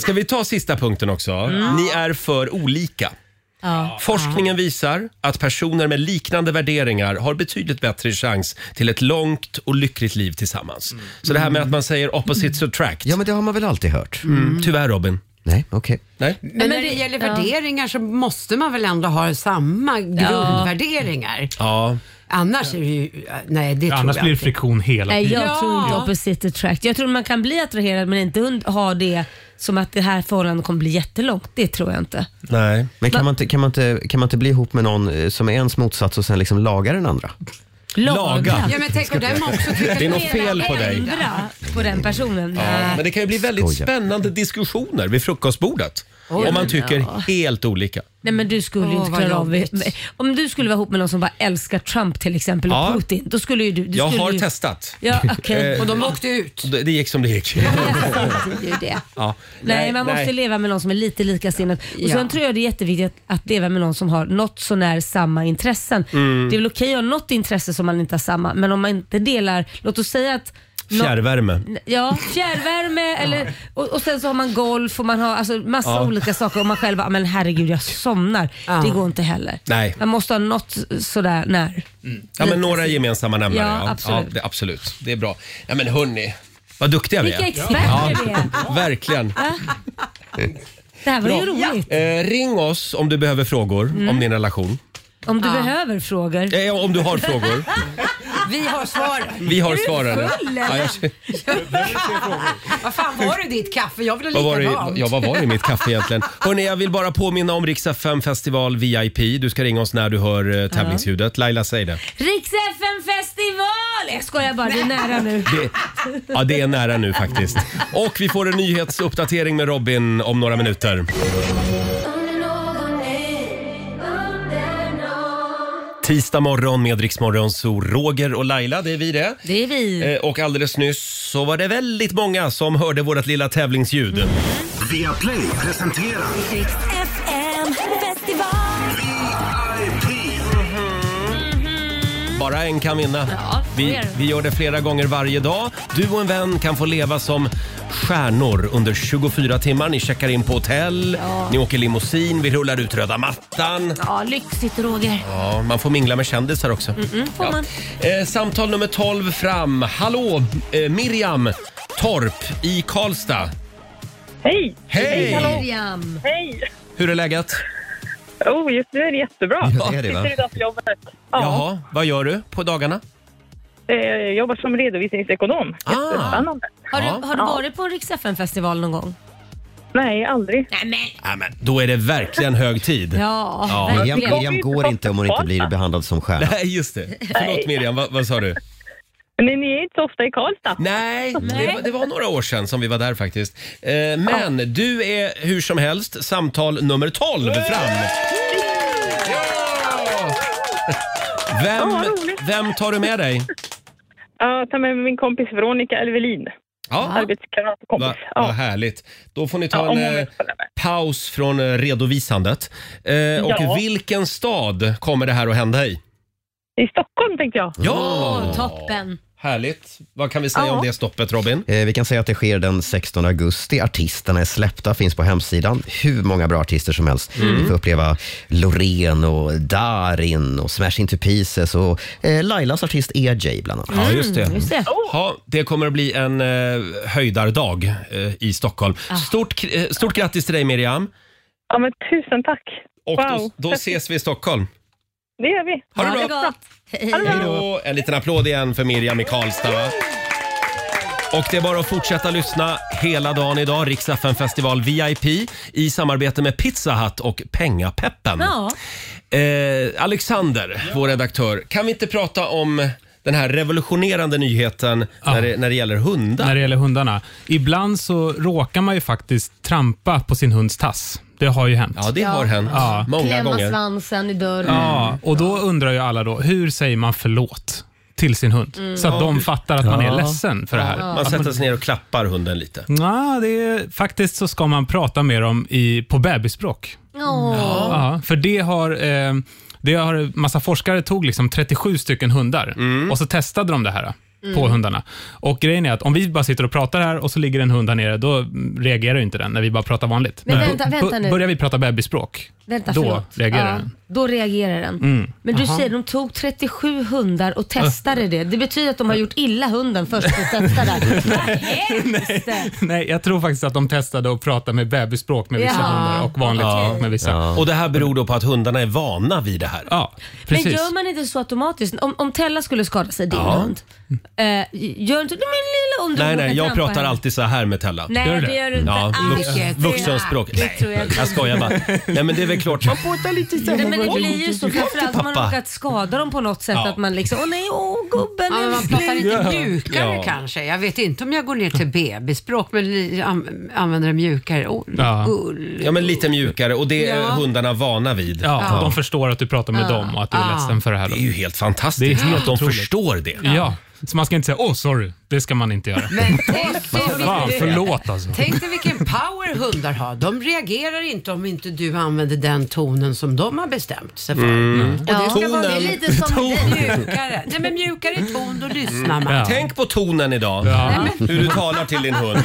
ska vi ta sista punkten också? Ni är för olika.
Ja.
Forskningen visar att personer med liknande värderingar har betydligt bättre chans till ett långt och lyckligt liv tillsammans. Så det här med att man säger opposites attract.
Ja, men det har man väl alltid hört?
Mm. Tyvärr Robin.
Nej, okej.
Nej?
Men när det gäller värderingar så måste man väl ändå ha samma grundvärderingar?
Ja.
Annars är det ju... Nej, det tror
Annars
jag
blir det
inte.
friktion hela
Nej,
tiden.
jag
Ja.
tror inte opposite attract. Jag tror man kan bli attraherad men inte und- ha det som att det här förhållandet kommer bli jättelångt. Det tror jag inte.
Nej.
Men kan man, inte, kan, man inte, kan man inte bli ihop med någon eh, som är ens motsats och sen liksom laga den andra?
Laga.
Ja, men tänk om den också tycker...
Det är något fel på dig.
Ändra på den personen.
Ja,
Nej.
men det kan ju bli väldigt
Skoja.
spännande diskussioner vid frukostbordet. om man tycker helt olika.
Nej men du skulle ju
Åh,
inte
vad
klara av
jobbigt.
Om du skulle vara ihop med någon som bara älskar Trump till exempel och
Ja.
Putin, då skulle ju du... du
Jag
skulle
har
ju...
testat. Eh,
Ja, okej.
Och de åkte ut.
Det det gick som det gick.
Det är ju det.
Ja.
Nej, man måste leva med någon som är lite likasinnad. Och
Ja.
Sen tror jag det är jätteviktigt att, att leva med någon som har något sånär samma intressen.
Mm.
Det är väl okej att ha något intresse som man inte har samma, men om man inte delar, låt oss säga att nå-
Fjärrvärme.
Ja, fjärrvärme eller, och, och sen så har man golf och man har alltså massa olika saker och man själv bara, "Ah, men herregud jag somnar. Det går inte heller.
Nej.
Man måste ha något sådär när.
Ja, men några gemensamma nämnare.
Ja, absolut.
det, absolut. Det är bra. Ja, men hörni, vad duktiga vi
Vilka
är.
experter vi är.
Verkligen.
Det här var ju roligt. Mm.
Eh, ring oss om du behöver frågor om din relation.
Om du behöver frågor.
Eh, om du har frågor.
Vi har svaren.
Vi har svaren.
full,
Ja, jag,
Vad fan var det i ditt kaffe? Jag vill ha
vad, var det,
likadant.
ja, vad var det i mitt kaffe egentligen? Hörni, jag vill bara påminna om Riksa 5 festival VIP. Du ska ringa oss när du hör eh, tävlingsljudet. Laila, säg det.
Riks FN-festival! Jag skojar bara, det är nära nu.
Det, ja, det är nära nu faktiskt. Och vi får en nyhetsuppdatering med Robin om några minuter. Tisdag morgon med Rix Morgon, så Roger och Laila, det är vi det.
Det är vi.
Eh, Och alldeles nyss så var det väldigt många som hörde vårt lilla tävlingsljud.
Via Play presenterar
FM festival.
VIP.
Bara en kan vinna.
Ja, så
vi,
är det.
vi gör det flera gånger varje dag. Du och en vän kan få leva som stjärnor under 24 timmar. Ni checkar in på hotell,
Ja.
ni åker limousin, vi rullar ut röda mattan.
Ja, lyxigt Roger.
Ja, man får mingla med kändisar också.
Mm, får man.
Eh, samtal nummer 12 fram. Hallå, eh, Miriam Torp i Karlstad.
Hej!
Hej!
Miriam.
Hej!
Hur är läget?
Oh, just nu är det jättebra.
Ja, det är det, va?
Sitter idag på jobbet. Ja,
Jaha, vad gör du på dagarna?
eh, jag jobbar som redovisningsekonom.
Ah.
Jättespännande.
Har,
Ja.
du, har du varit på en Rix festival någon gång?
Nej, aldrig.
Nej men.
Ja, men då är det verkligen hög tid.
Ja,
Ja.
Miriam,
verkligen.
Miriam går inte om hon inte blir behandlad som stjärna.
Nej, just det. Förlåt Miriam, vad, vad sa du?
Men ni är inte så ofta i Karlstad.
Nej, Det, var- det var några år sedan som vi var där faktiskt. Eh, men du är hur som helst samtal nummer 12 fram. Ja! Vem, vem tar du med dig?
Jag tar med min kompis Veronica Elvelin,
Ja,
arbetskamratkompis.
vad
ja.
vad härligt. Då får ni
Ja,
ta
om
en
hon
eh,
vill följa med.
paus från eh, redovisandet. Eh, och
Ja.
vilken stad kommer det här att hända i?
I Stockholm tänkte jag.
Åh, toppen.
Härligt. Vad kan vi säga om det stoppet Robin?
Eh, Vi kan säga att det sker den 16 augusti. Artisterna är släppta, finns på hemsidan. Hur många bra artister som helst.
Mm.
Vi får uppleva Loreen och Darin och Smash Into Pieces och eh, Lailas artist EJ bland annat.
Ja, Mm, just det.
Mm, Just det.
Oh.
Ja, det kommer att bli en eh, höjdardag eh, i Stockholm.
Ah.
Stort, k- eh, stort grattis till dig Miriam.
Ja, men tusen tack.
Och
wow.
då, då ses vi i Stockholm.
Det gör vi.
Ha det bra.
gott. Hej.
Hej då. En liten applåd igen för Miriam i Karlstad. Va? Och det är bara att fortsätta lyssna hela dagen idag. Rix FM festival VIP i samarbete med Pizza Hut och Pengapeppen.
Ja.
Eh, Alexander, vår redaktör, kan vi inte prata om den här revolutionerande nyheten när, det, när det gäller hundar?
när det gäller hundarna. Ibland så råkar man ju faktiskt trampa på sin hunds tass. Det har ju hänt.
Ja, det har hänt
Ja.
många
Klämma
gånger. Mm.
svansen i dörren.
Ja, och då undrar ju alla då, hur säger man förlåt till sin hund?
Mm.
Så att de fattar att man är ledsen för det här.
Man sätter sig ner och klappar hunden lite.
Ja, det är, faktiskt så ska man prata med dem i, på bebisspråk.
Åh.
Ja, för det har... Eh, det har massa forskare tog liksom 37 stycken hundar
Mm.
och så testade de det här eh, på hundarna. Och grejen är att om vi bara sitter och pratar här och så ligger en hund här nere, då mm, reagerar ju inte den när vi bara pratar vanligt.
Men
bu-
vänta, vänta
bu-
nu.
Börjar vi prata bebisspråk,
Vänta,
då
förlåt.
reagerar
Ja,
den. Mm.
Då reagerar den. Men du säger de tog 37 hundar och
Äh.
testade det. Det betyder att de har gjort illa hunden först och testade. Vad hemskt!
Nej, jag tror faktiskt att de testade att prata med bebisspråk med vissa
Ja,
hundar och vanligt
okej.
språk med vissa. Ja,
Och det här beror då på att hundarna är vana vid det här.
precis.
Men gör man inte så automatiskt? Om, om Tella skulle skada sig, din hund. Eh, gör inte du min lilla hund?
Nej, nej, jag
Trampa
pratar
henne.
alltid så här med Tella.
Nej,
Gör du
det
det?
gör du inte.
Ja,
Ah,
vux,
det-
vuxenspråk.
Det tror jag
Nej, jag skojar bara. Nej, men det är väl klart. Man pratar lite så
Nej, men det blir ju så, framförallt om man
Pappa.
har råkat skada dem på något sätt
Ja.
att man liksom, åh nej, åh gubben.
Ja, men man pratar lite mjukare
Ja.
kanske. Jag vet inte om jag går ner till bebisspråk, men li- an- använder det mjukare ord.
Ja.
Gull.
Ja, men lite mjukare och det är
Ja.
hundarna vana vid.
Ja, för De förstår att du pratar med dem och att du är
Ja.
ledsen för det här.
Det
Då.
är ju helt fantastiskt
Det är helt
att de
otroligt.
förstår det.
Ja, så man ska inte säga åh sorry, det ska man inte göra.
Men tänk dig,
Fan,
vilken,
förlåt alltså.
tänk dig vilken power hundar har. De reagerar inte om inte du använder den tonen som de har bestämt sig för. Och det ska vara
Det är
Tonen.
lite som
mjukare. Nej, men mjukare ton, då lyssnar man.
Ja.
Tänk på tonen idag. Hur du talar till din hund.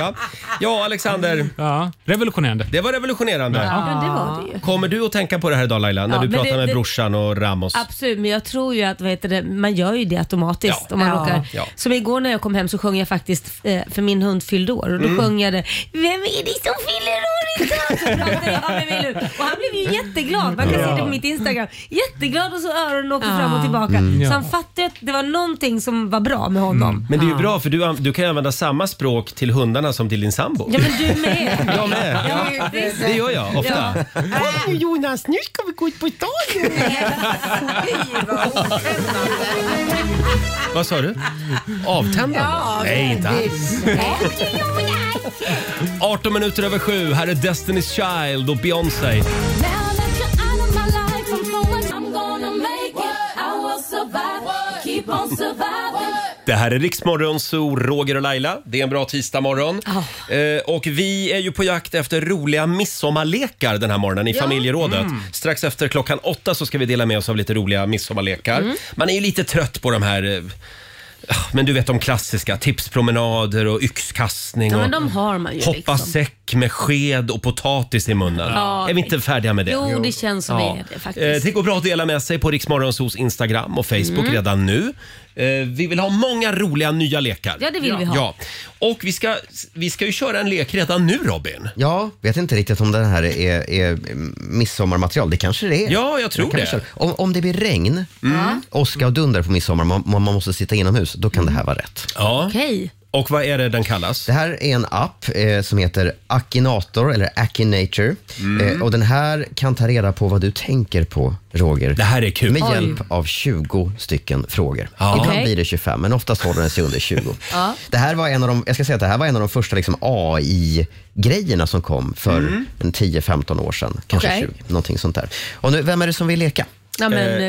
Ja, ja Alexander.
Ja, revolutionerande.
Det var revolutionerande.
Ja, det var det ju.
Kommer du att tänka på det här idag Laila, när
Ja,
du
men
pratar
det-
med
det-
brorsan och Ramos?
Absolut, men jag tror ju att vad heter det, man gör ju det automatiskt.
Ja.
Om man
Ja.
råkar.
Ja.
Som igår när jag kom hem så sjöng jag faktiskt, eh, för min hund fyllde år, och då sjöng jag det. Vem är det som fyller år idag? Så pratade jag med min hund. Och han blev ju jätteglad. Man kan se det på mitt Instagram. Jätteglad och så öronen åker fram och tillbaka. Så han fattade ju att det var någonting som var bra med honom.
Men det är ju bra för du, an- du kan ju använda samma språk till hundarna som till din sambo.
Ja men du med.
Jag med.
Ja, visst.
Det gör jag ofta. Kom Jonas, nu ska vi gå ut på stan. Vad sa du? Avtändande? Nej, inte alls. 18 minuter över sju. Här är Destiny's Child och Beyoncé.
Now that you're out of my life, I'm going, I'm gonna make it. I will survive, keep on surviving.
Det här är Riksmorgon, så Roger och Laila. Det är en bra tisdagmorgon. Eh, och vi är ju på jakt efter roliga midsommarlekar den här morgonen i familjerådet.
Mm.
Strax efter klockan åtta så ska vi dela med oss av lite roliga midsommarlekar.
Mm.
Man är ju lite trött på de här eh, ah, men du vet de klassiska, tipspromenader och yxkastning
Ja,
och
men de har man ju.
hoppa
liksom.
säck med sked och potatis i munnen.
Ja.
Är vi inte färdiga med det?
Jo, det känns som
Ja.
det är det
Eh,
faktiskt. Mm.
Det går bra att dela med sig på Riksmorgonsos Instagram och Facebook redan nu. Eh, Vi vill ha många roliga nya lekar.
Ja, det vill vi ha.
Ja. Och vi ska, vi ska ju köra en lek redan nu Robin.
Ja, vet inte riktigt om den här är, är midsommarmaterial. Det kanske det är.
Ja, jag tror
Kan vi
det.
köra? Om, om det blir regn, åska och dunder på midsommar, man, man måste sitta inomhus, då kan det här vara rätt.
Ja.
Okej.
Och vad är det den kallas?
Det här är en app eh, som heter Akinator eller Akinator.
Mm.
Eh, och den här kan ta reda på vad du tänker på, Roger.
Det här är kul.
Med
Oj.
hjälp av 20 stycken frågor.
Ja.
Ibland
Okej.
blir det 25, men oftast håller den sig under 20. det, här var en av de, jag ska säga att det här var en av de första liksom AI-grejerna som kom för
Mm.
en 10-15 år sedan. Kanske
Okej.
20, någonting sånt där. Och nu, vem är det som vill leka?
Ja, men, eh,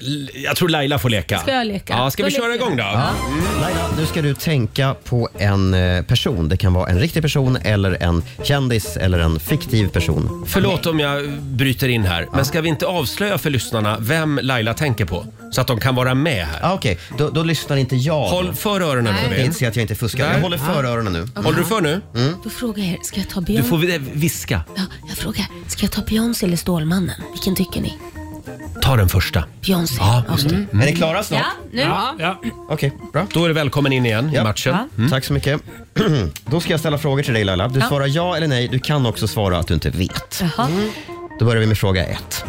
L- Jag tror Laila får leka.
Ska jag leka?
Ja, ska
Då
vi köra
leker jag.
igång då?
Mm. Laila, nu ska du tänka på en eh, person. Det kan vara en riktig person eller en kändis eller en fiktiv person.
Förlåt om jag bryter in här, men ska vi inte avslöja för lyssnarna vem Laila tänker på? Så att de kan vara med här.
Ah, Okej, då, då lyssnar inte jag.
Håll för öronen
Jag
Robin.
vill se att jag inte fuskar.
Nej.
Jag håller för öronen nu. Mm.
Håller du för nu?
Då frågar jag er, ska jag ta
Du
Beyoncé?
får vi- viska.
Ja, jag frågar, ska jag ta Beyoncé eller Stålmannen? Vilken tycker ni?
Ta den första.
Beyoncé.
Ja, just det.
Mm. Är ni klara snart?
Ja, nu.
Ja, ja.
Okej, bra.
Då är du välkommen in igen i
Ja. Mm.
matchen.
Ja.
Tack så mycket. Då ska jag ställa frågor till dig Laila. Du svarar ja eller nej. Du kan också svara att du inte vet.
Jaha.
mm.
Då börjar vi med fråga ett.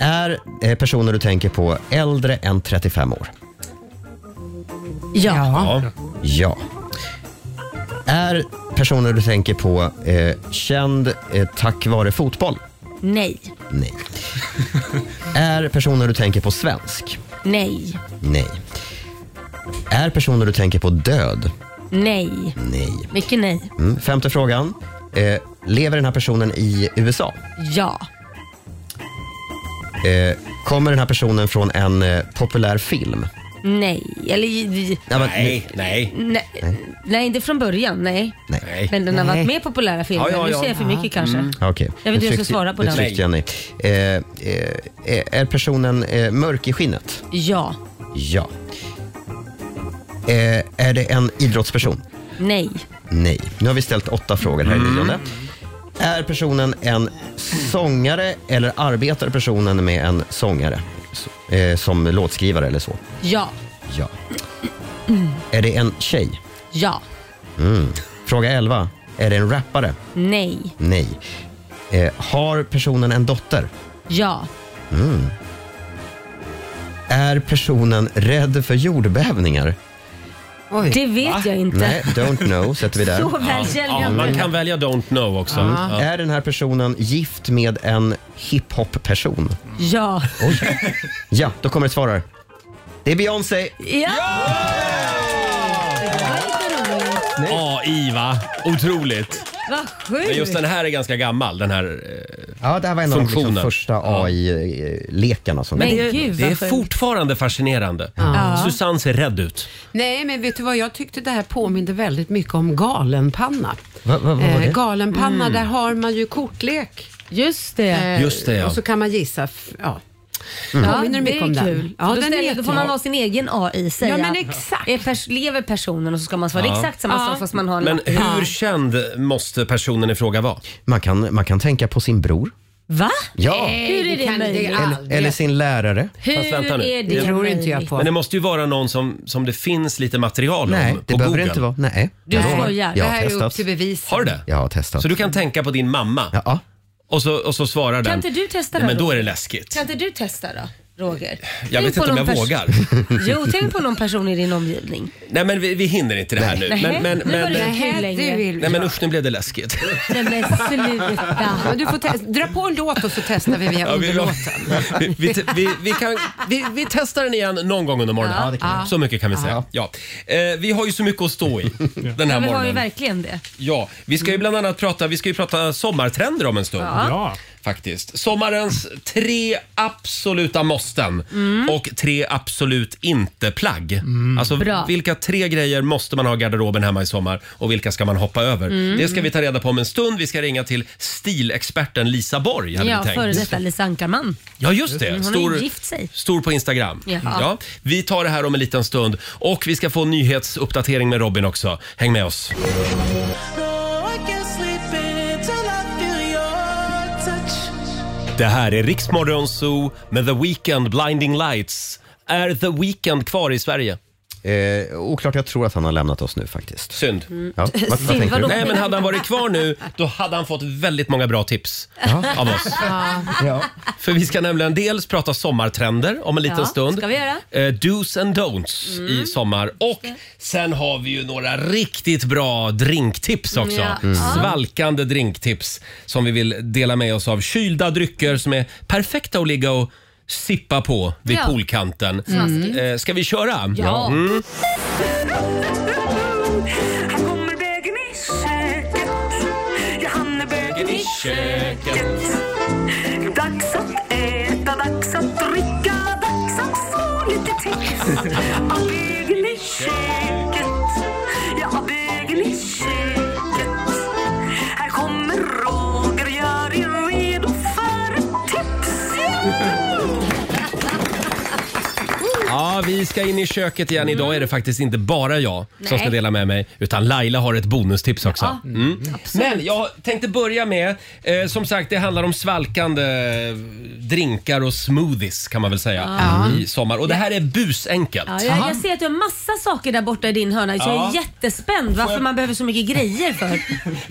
Är eh, personer du tänker på äldre än 35 år?
Ja.
Ja.
Ja. Är personer du tänker på eh, känd eh, tack vare fotboll?
Nej.
Nej. är personer du tänker på svensk?
Nej.
Nej. Är personer du tänker på död?
Nej.
Nej.
Mycket nej.
Mm. Femte frågan. Eh, lever den här personen i USA?
Ja.
Eh, kommer den här personen från en eh, populär film?
Nej. Eller... j-
Ja, men-
Nej, nej.
Nej, nej, inte från början. Nej.
Nej.
Men den har varit med i populära filmer.
Ja, ja, ja.
Äh, Nu
Mm.
ser jag för
Mm.
mycket kanske.
Ja, Okej.
Jag vet inte hur jag ska
Nu tryckte-
svara på
nu
den.
tryckte jag nej. Eh, eh, eh, är personen eh, mörk i skinnet?
Ja.
Ja. Eh, är det en idrottsperson?
Nej.
Nej. Nu har vi ställt åtta frågor här i
Mm.
nionde. Är personen en sångare eller arbetar personen med en sångare? S- eh, som låtskrivare eller så?
Ja.
Ja.
Mm.
Är det en tjej? Mm.
Ja.
Fråga 11. Är det en rappare?
Nej.
Nej. Eh, har personen en dotter? Mm.
Ja.
Är personen rädd för jordbävningar?
Det vet jag inte.
Nej, don't know sätter vi
Så
där.
väl känner
Ja,
jag
man
mig.
kan välja Don't know också. Ja.
Är den här personen gift med en hiphop-person?
Ja.
Ja, då kommer ett svar här. Det är Beyoncé.
Ja! Det var lite roligt.
AI va? Otroligt.
Vad
Men just den
sjukt.
här är ganska gammal. Den här, eh,
Ja, det här var en av de
Funktionen.
liksom första AI-lekarna som
Men
kom.
gud
det är
vad sjukt.
fortfarande fascinerande. Mm. Susanne ser rädd ut.
Nej, men vet du vad? Jag tyckte det här påminde väldigt mycket om galenpanna. Eh,
Va- va- vad
Eh,
var det?
galenpanna, där har man ju kortlek.
Just det.
Eh,
Just det, ja.
Och så kan man gissa. f- Ja.
Mm.
Mm.
Ja,
Påminner
det
mycket om
är
den.
kul.
Ja,
då,
den är
ställer, då får
jättebra.
man vara sin egen AI säga.
Ja, men exakt.
Är pers- lever personen och så ska man svara
Ja.
exakt samma
Ja.
sak fast man har en
Men
lapp.
hur känd måste personen i fråga vara?
Man kan, man kan tänka på sin bror.
Va?
Ja.
Hur är det möjligt?
Eller,
Eller sin lärare.
Fast vänta
Hur
nu.
är det
det tror inte jag
möjligt?
Men det
på.
måste ju vara någon som, som det finns lite material
Nej,
om på
det behöver
Google.
det inte vara. Nej.
Du
Jag lovar.
skojar.
Det
Jag
här
har
är upp
testat.
till bevis.
Har du det?
Jag har testat.
Så du kan tänka på din mamma
Ja, ja.
och, så, och så svarar den.
Kan inte du testa
Nej,
då?
men då är det
Roger?
läskigt.
Kan inte du testa då, Roger?
Jag
Tänk
vet
på
inte om jag
någon pers-
vågar.
Jo, tänk på någon person i din omgivning.
Nej men vi, vi hinner inte det här nu.
Nej.
Men, men,
Nu var
men,
det-
Nej,
Kul längre.
du vill.
nej men usch nu blev det läskigt.
Nej men
Ja,
sluta.
du får te- dra på en låt och så testar vi via
Ja, vi,
under låten.
vi, vi, vi, vi, kan, vi, vi testar den igen någon gång under morgonen.
Ja,
det kan
Så mycket kan vi säga. Ja. Eh, vi har ju så mycket att stå i den här
Vi har ju
morgonen.
verkligen det.
Ja, vi ska ju bland annat prata, vi ska ju prata sommartrender om en stund.
ja.
faktiskt. Sommarens tre absoluta måsten
Mm.
och tre absolut inte-plagg. Alltså
Bra.
vilka tre grejer måste man ha i garderoben hemma i sommar och vilka ska man hoppa över?
Mm.
Det ska vi ta reda på om en stund. Vi ska ringa till stilexperten Lisa Borg hade
Ja,
vi tänkt.
före detta Lisa Ankarman.
Ja, just det.
Hon har
Stor,
ju gift sig.
stor på Instagram.
Jaha.
Ja, vi tar det här om en liten stund och vi ska få en nyhetsuppdatering med Robin också. Häng med oss. Det här är Riksmorgon Zoo med The Weeknd Blinding Lights. Är The Weeknd kvar i Sverige?
Eh, oklart, jag tror att han har lämnat oss nu faktiskt.
Synd.
Ja, vad, vad
Mm. Synd,
tänker
vadå?
du?
Nej, men hade han varit kvar nu, då hade han fått väldigt många bra tips av oss.
Ja.
För vi ska nämligen dels prata sommartrender om en liten
Ja,
stund.
ska vi göra.
Eh, do's and don'ts
Mm.
i sommar. Och sen har vi ju några riktigt bra drinktips också.
Ja. Mm.
Svalkande drinktips som vi vill dela med oss av. Kylda drycker som är perfekta att ligga och sippa på vid
Ja.
poolkanten.
Smaskigt.
Eh, ska vi köra? Mm.
Ja.
Han kommer vägen i köket Ja, han är vägen i köket Dags att äta, dags att dricka Dags att få lite tips Av vägen i köket Ja, av vägen i köket Här kommer Roger, gör er redo för ett tips
Ja, vi ska in i köket igen. Idag är det faktiskt inte bara jag som
Nej.
ska dela med mig, utan Laila har ett bonustips också.
Ja,
Mm. Men jag tänkte börja med, eh, som sagt det handlar om svalkande eh, drinkar och smoothies kan man väl säga i sommar. Och det här är busenkelt.
Mm. Ja, jag, jag ser att du har massa saker där borta i din hörna så jag
Ja.
är jättespänd varför man behöver så mycket grejer för.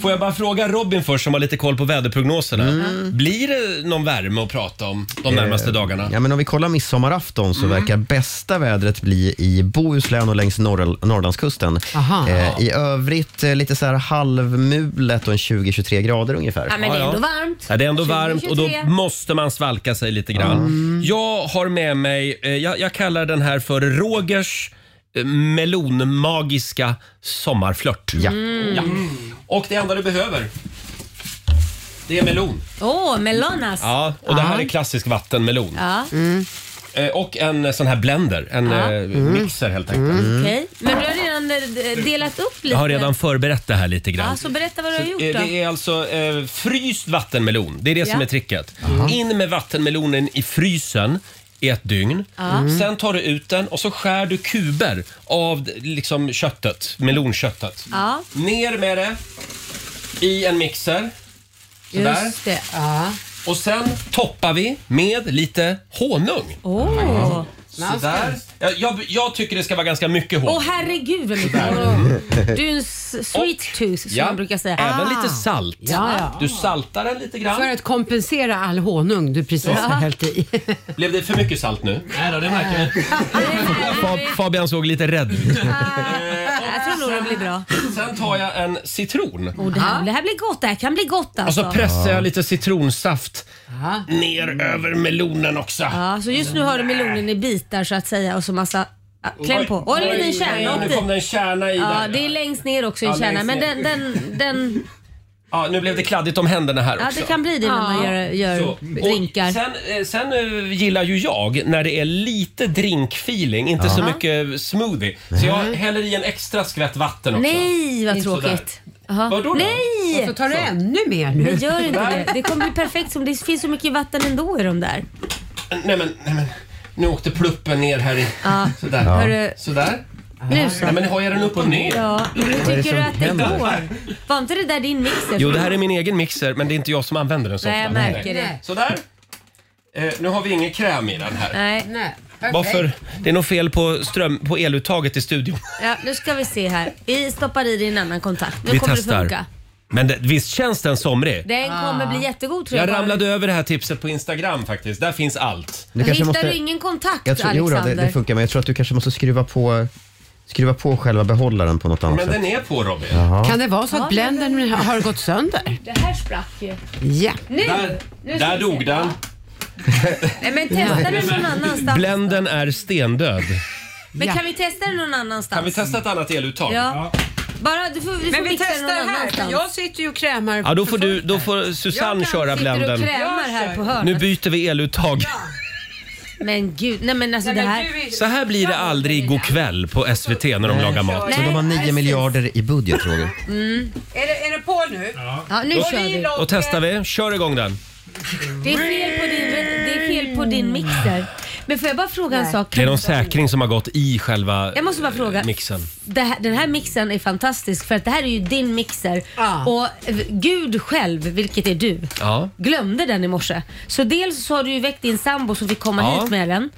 Får jag bara fråga Robin först som har lite koll på väderprognoserna.
Mm.
Blir det någon värme att prata om de
Eh,
närmaste dagarna?
Ja, men om vi kollar midsommarafton
Mm.
så verkar bästa vädret bli i Bohuslän och längs norr- Norrlandskusten.
Aha.
Eh, I övrigt eh, lite så här halvmulet och en 20-23 grader ungefär.
Ja, men det är
Ja, ja.
ändå varmt.
Ja, det är ändå varmt och då
2023.
måste man svalka sig lite grann.
Mm.
Jag har med mig, eh, jag, jag kallar den här för Rogers eh, melonmagiska sommarflört.
Ja.
Mm.
Ja. Och det enda du behöver, det är melon.
Åh, melonas.
Ja, och det här är klassisk vattenmelon.
Ja, Mm.
Eh, Och en eh, sån här blender, en
Ja.
eh, mixer helt enkelt.
okej. Men du har redan eh, delat upp lite.
Jag har redan förberett det här lite grann.
Ja, så berätta vad du har gjort
Eh,
då.
Det är alltså eh, fryst vattenmelon. Det är det som
Ja.
är tricket. In med vattenmelonen i frysen i ett dygn. Mm.
Mm.
Sen tar du ut den och så skär du kuber av d- liksom köttet, melonköttet.
Ja,
Ner med det i en mixer. Sådär.
just det.
Ja.
Och sen toppar vi med lite honung.
Åh, åh
Sådär. Jag, jag, jag tycker det ska vara ganska mycket honung.
herregud vad mycket. Du är en s- sweet tooth som
Ja,
man brukar säga.
Även
Ah.
lite salt.
Ja, ja.
Du saltar den lite
För
grann.
att kompensera all honung du precis har hällt i.
Blev det för mycket salt nu?
Nej då, det märker jag.
Fab- Fabian såg lite rädd ut.
Jag tror nog det blir bra.
Sen tar jag en citron.
Oh, det, här, det här blir gott. Det här kan bli gott
Och
alltså.
så pressar jag lite citronsaft
Ja.
ner över melonen också.
Ja, så just nu har du melonen i bitar så att säga och så massa ah, Kläm på. Och en liten kärna
Nu
upp
kom det
i.
en kärna i
Ja,
där.
det är längst ner också
Ja,
en kärna.
längst
Men
ner.
den, den, den,
Ja, nu blev det kladdigt om händerna här
ja,
också.
det kan bli det när man gör,
Så.
gör
Och
drinkar.
sen, eh, sen eh, gillar ju jag när det är lite drinkfeeling, inte så mycket smoothie. Så jag häller i en extra skvätt vatten också.
Nej, vad
Inte
tråkigt. Jaha.
Vadå då?
Nej!
Så tar du ännu mer nu.
Men gör inte det. Det kommer bli perfekt som det finns så mycket vatten ändå i de där.
Nej men, nej men. Nu åkte pluppen ner här i... Sådär.
Hörru.
Sådär.
Nu så.
Nej men har jag den upp och ner?
Ja, hur tycker
som
du att det
händer?
går? Var inte det där din mixer?
Jo, det här är min egen mixer, men det är inte jag som använder den så
Nej, jag
ofta.
märker det.
Sådär. Eh, nu har vi ingen kräm i den här.
Nej.
Nej. perfekt.
Varför? Eh, Det är nog fel på, ström, på eluttaget i studion.
Ja, nu ska vi se här. Vi stoppar i din annan kontakt. Nu kommer det funka.
Men det, visst känns den somrig?
Den
Ah.
kommer bli jättegod tror jag.
Jag ramlade över det här tipset på Instagram faktiskt. Där finns allt.
Du kanske
Hittar
måste-
du ingen kontakt
Jag tror, jo, då, det,
Alexander?
det funkar, men jag tror att du kanske måste skruva på, skruva på själva behållaren på något annat
Men
sätt.
den är på Robin.
Kan det vara så att blendern har gått sönder?
det här sprack ju.
Ja.
Nu!
Där,
nu ska
där
vi
dog
se.
den.
Nej, men testa den någon annanstans.
Bländen är stendöd.
Men kan vi testa den någon annanstans?
Kan vi testa ett annat eluttag?
Ja. Bara, du får, du får
Men vi
mixa den
testar
någon
här.
annanstans.
Jag sitter ju och krämar.
Ja, då får,
för
du,
fullt
då
här.
får Susanne
Jag kan-
köra
Sitter du och
bländen.
krämar här på
Nu
hörnet?
byter vi eluttag.
Men gud, nej men alltså
Nej,
det
men
här.
du är-
Så här blir det aldrig god kväll på SVT när de lagar mat.
Så de har 9 miljarder i budget, Roger.
Mm. Är det, är det på nu?
Ja, nu kör vi.
Då testar vi. Kör igång den.
Det är fel på din, det är fel på din mixer. Men får jag bara fråga en sak?
Det är någon säkring som har gått i själva
Jag måste bara fråga.
eh, mixen.
Det här, den här mixen är fantastisk för att det här är ju din mixer
Ja.
och eh, Gud själv, vilket är du,
Ja.
glömde den i morse. Så dels så har du ju väckt din sambo som fick komma
Ja.
hit med den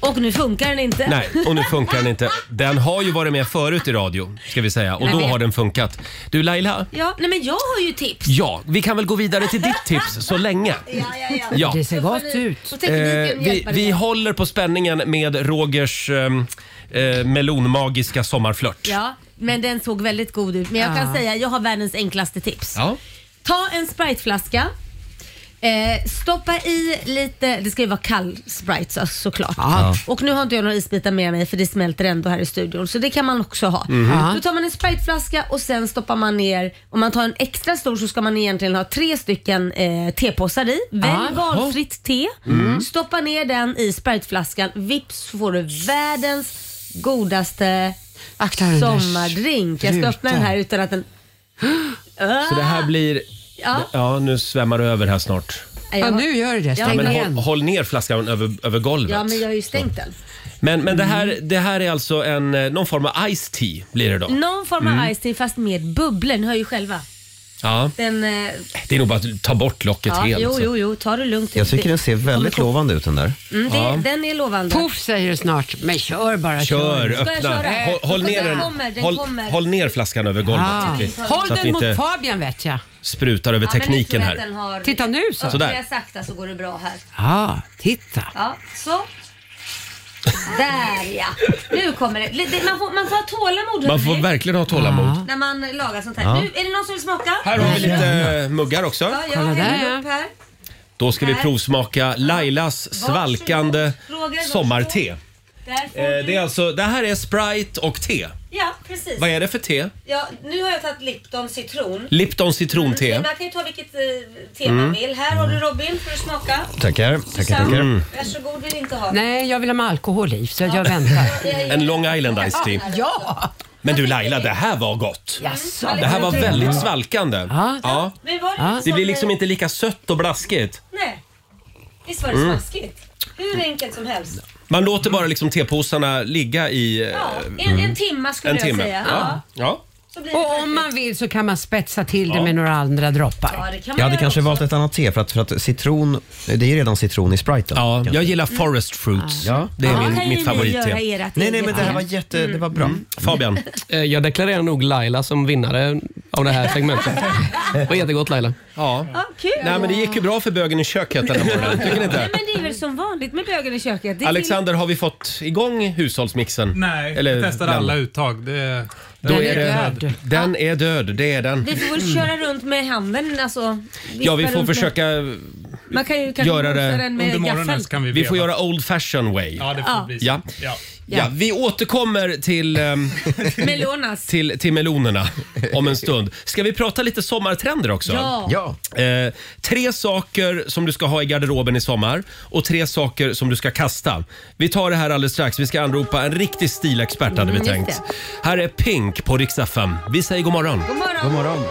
och nu funkar den inte.
Nej, och nu funkar den inte. Den har ju varit med förut i radio, ska vi säga. Och
Jag
då
vet.
har den funkat. Du Laila,
Ja, nej men jag har ju tips.
ja, vi kan väl gå vidare till ditt tips så länge. Ja.
Det ser gott
Och
ut.
Eh,
tekniken
vi,
hjälper
vi
dig.
håller på spänningen med Rogers ehm, eh, melonmagiska sommarflört.
Ja, men den såg väldigt god ut. Men jag kan säga, jag har världens enklaste tips.
Ja.
Ta en spriteflaska. Eh, stoppa i lite, det ska ju vara kall sprite så, såklart. Och nu har inte jag några isbitar med mig för det smälter ändå här i studion så det kan man också ha. Då tar man en spriteflaska och sen stoppar man ner, om man tar en extra stor så ska man egentligen ha tre stycken eh, tepåsar i. Välj valfritt te, stoppa ner den i spriteflaskan, vips så får du världens godaste
Akta dig, Anders.
sommardrink. Jag ska
Sluta.
öppna den här utan att den...
Så det här blir...
Ah. Ja.
Ja, nu svämmar det över här snart.
Nej, jag
Ja,
har-
nu gör du det.
Ja,
Stäng
Men
igen.
håll, håll ner flaskan över, över golvet.
Ja, men Mm. jag har ju stängt den.
Men, men det, här, det här är alltså en, eh, någon form av iced tea blir det då?
Någon form av
Mm.
ice tea fast med bubblor. Ni hör ju själva.
Ja.
Den, eh,
Det är nog bara att ta bort locket
ja,
helt.
jo,
så.
jo, jo, ta det lugnt.
Jag tycker den ser väldigt
kommer-
lovande ut den där.
Mm, det, Den är lovande.
Puff säger det snart. Men kör bara.
Kör,
Ska jag
öppna.
köra?
Håll, håll, ner den,
Den kommer, den
håll,
kommer.
håll ner flaskan över golvet så
Ah.
att vi,
Håll
så att vi
den mot
inte
Fabian vet jag.
sprutar över
Ja, men nu
tekniken
tror jag att
här.
Den har...
Titta nu så.
Sådär.
Öppnar jag sakta så går det bra här.
Ja, titta.
Ja, så. Där ja. Nu kommer det. Lite- Man får, man får ha tålamod
Man får
hörni,
verkligen ha tålamod.
när man lagar sånt här. Nu, är det någon som vill smaka?
Här har vi lite muggar också.
Ja, jag
Kolla
häller
där,
upp här.
Då ska vi
Här.
provsmaka Lailas
Varsågod.
svalkande
Roger, varsågod.
sommarte. Eh,
Där får
Det,
du.
är alltså, det här är Sprite och te.
Ja, precis.
Vad är det för te?
Ja, nu har jag tagit Lipton citron.
Lipton Mm. citronte.
Man kan ju ta vilket eh, te man vill. Här har du Robin, får du smaka.
Tackar, tackar,
Susanne,
Mm.
tackar.
varsågod, vill inte ha.
Nej, jag vill ha med alkohol i så jag väntar.
En Long Island Ice Tea.
Ja!
Men du Laila, det här var gott.
Jaså?
Det här var väldigt svalkande.
Ja.
Ja.
Mm. Men var det,
Det
som-
blir liksom inte lika sött och blaskigt.
Nej. Visst var det
Mm.
smaskigt? Hur enkelt som helst.
Man låter bara liksom tepåsarna ligga i eh,
Ja, en, en timma skulle
en
jag
timme.
säga.
Ja. Ja.
Så blir det
Och om
perfekt.
man vill så kan man spetsa till det med några andra droppar.
Ja, det kan man
Jag hade
göra
kanske
också.
valt ett annat te för att, för att citron, det är ju redan citron i spriten.
ja,
Kanske.
jag gillar Forest Fruits.
Ja.
Det är
Mm. Ja, kan
min,
ju
mitt
Ni göra
favoritte.
ert
Nej,
eget
nej, men det här
te.
var jätte, det var bra.
Mm.
Fabian,
Eh, Jag deklarerar nog Laila som vinnare av det här segmentet. Det var jättegott Laila.
ja.
Ja, Ah, kul.
Nej, men det gick ju bra för bögen i köket den här morgonen. Tycker ni
Nej,
inte?
men det är väl som vanligt med bögen i köket. Det är
Alexander, har vi fått igång hushållsmixen?
Nej, jag testar
den?
alla uttag. Det,
Då är
är
det,
död.
den är död, det är den.
Vi får väl köra runt med handen alltså.
Ja, vi
Vifta
får
runt med-
försöka
Man kan ju kanske
göra
mosa
det
den
under
med
morgonen
gaffel.
så kan vi
Vi får
veva.
göra old fashion way. Ja.
Ja, det får
Ja.
bli så.
Ja.
Ja.
vi återkommer till, ehm,
Melonas.
till, till melonerna om en stund. Ska vi prata lite sommartrender också?
Ja.
Ja,
Eh, tre saker som du ska ha i garderoben i sommar och tre saker som du ska kasta. Vi tar det här alldeles strax. Vi ska anropa en riktig stilexpert hade vi
Mm,
tänkt.
just
Här är Pink på riksdag 5. Vi säger god morgon.
God morgon.
god morgon.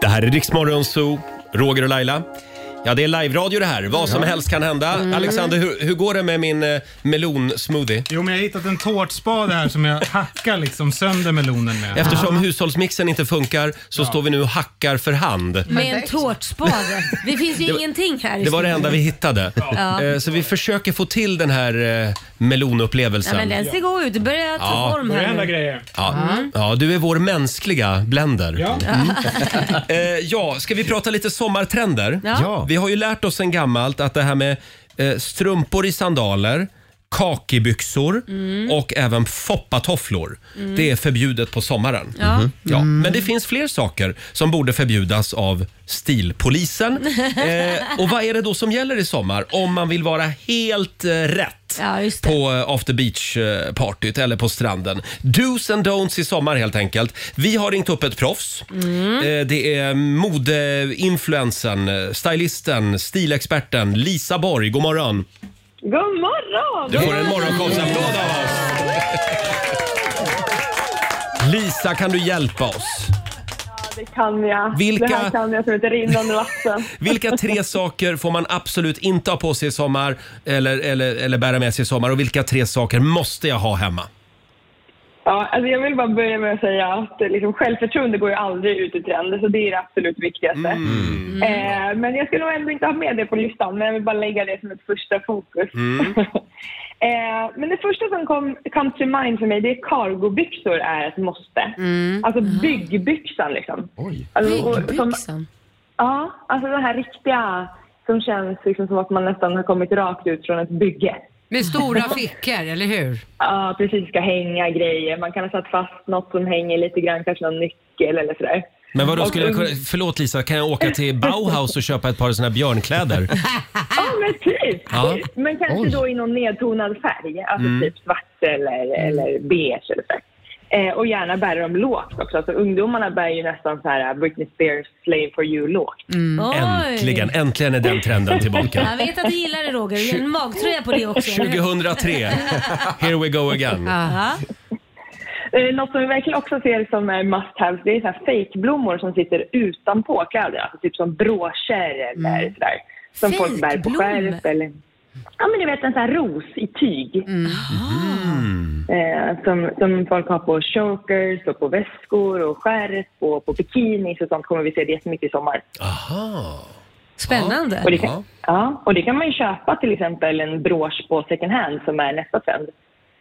Det här är Riksmorgon Zoo, Roger och Laila. Ja, det är live-radio det här. Vad som helst kan hända.
Mm.
Alexander, hur, hur går det med min eh, melonsmoothie?
Jo, men jag har hittat en tårtspade här som jag hackar liksom sönder melonen med.
Eftersom hushållsmixen inte funkar så står vi nu och hackar för hand.
Med en tårtspade. Det finns ju ingenting här. i
Det var det
studion.
enda vi hittade. Eh, Så vi försöker få till den här eh,
Ja, men
melonupplevelsen.
den ser god ut. Det börjar ta
Ja.
form här nu.
grejer.
Ja. ja, du är vår mänskliga blender.
Ja.
Eh, Ja, ska vi prata lite sommartrender?
Ja.
Ja.
Vi har ju lärt oss sen gammalt att det här med eh, strumpor i sandaler kakibyxor
Mm.
och även foppatofflor. Det är förbjudet på sommaren.
Ja. Mhm.
Ja. Men det finns fler saker som borde förbjudas av stilpolisen. Eh, och vad är det då som gäller i sommar om man vill vara helt eh, rätt?
Ja, just det.
på eh, after beach-partyt eller på stranden. Do's and don'ts i sommar helt enkelt. Vi har ringt upp ett proffs.
Mm.
Eh, Det är modeinfluensen, eh, stylisten, stilexperten Lisa Borg. God morgon!
God morgon!
Du får en morgonshowsapplåd av oss! Lisa, kan du hjälpa oss?
Det kan jag.
Vilka-
Det här kan jag som ett rinnande vatten.
Vilka tre saker får man absolut inte ha på sig i sommar eller, eller, eller bära med sig i sommar och vilka tre saker måste jag ha hemma?
Ja, alltså jag vill bara börja med att säga att eh, liksom, självförtroende går ju aldrig ut i trend, så det är det absolut viktigaste.
Mm.
Mm.
Eh, men jag skulle nog ändå inte ha med det på listan, men jag vill bara lägga det som ett första fokus.
Mm.
eh, men det första som kom, kom till mind för mig, det är cargobyxor är ett måste.
Mm.
Alltså byggbyxan liksom.
Oj.
Alltså, och, som,
Byggbyxan.
ja, alltså den här riktiga som känns liksom som att man nästan har kommit rakt ut från ett bygge.
Med stora fickor, eller hur?
Ja, precis. Ska hänga grejer. Man kan ha satt fast något som hänger lite grann, kanske någon nyckel eller sådär.
Men vadå,
Och-
skulle jag, kunna- förlåt Lisa, kan jag åka till Bauhaus och köpa ett par såna här björnkläder?
Ja, men typ!
Ja.
Men kanske
Oj.
då i någon nedtonad färg. Alltså typ svart eller, eller beige eller så. Eh, och gärna bära dem lågt också. Alltså, ungdomarna bär ju nästan så här eh, Britney Spears Slave for You lågt.
Oj.
Äntligen, äntligen är den trenden
Jag
tillbaka.
vet att du gillar det Roger. Du en magtröja på det också. eller hur?
2003, here we go again.
Ja.
Eh, något som vi verkligen också ser som är must have, det är så här fejkblommor som sitter utanpå kläderna. Alltså typ som broscher eller sådär. Som folk bär på
Fejkblommor? Mm.
skärp eller... Ja men du vet en sån här ros i tyg. Eh, som, som folk har på chokers och på väskor och skärp och på bikinis och sånt kommer vi se det jättemycket i sommar.
Aha.
Och
Spännande.
det kan,
Ja.
ja. och det kan man ju köpa till exempel en brosch på second hand som är nästa trend.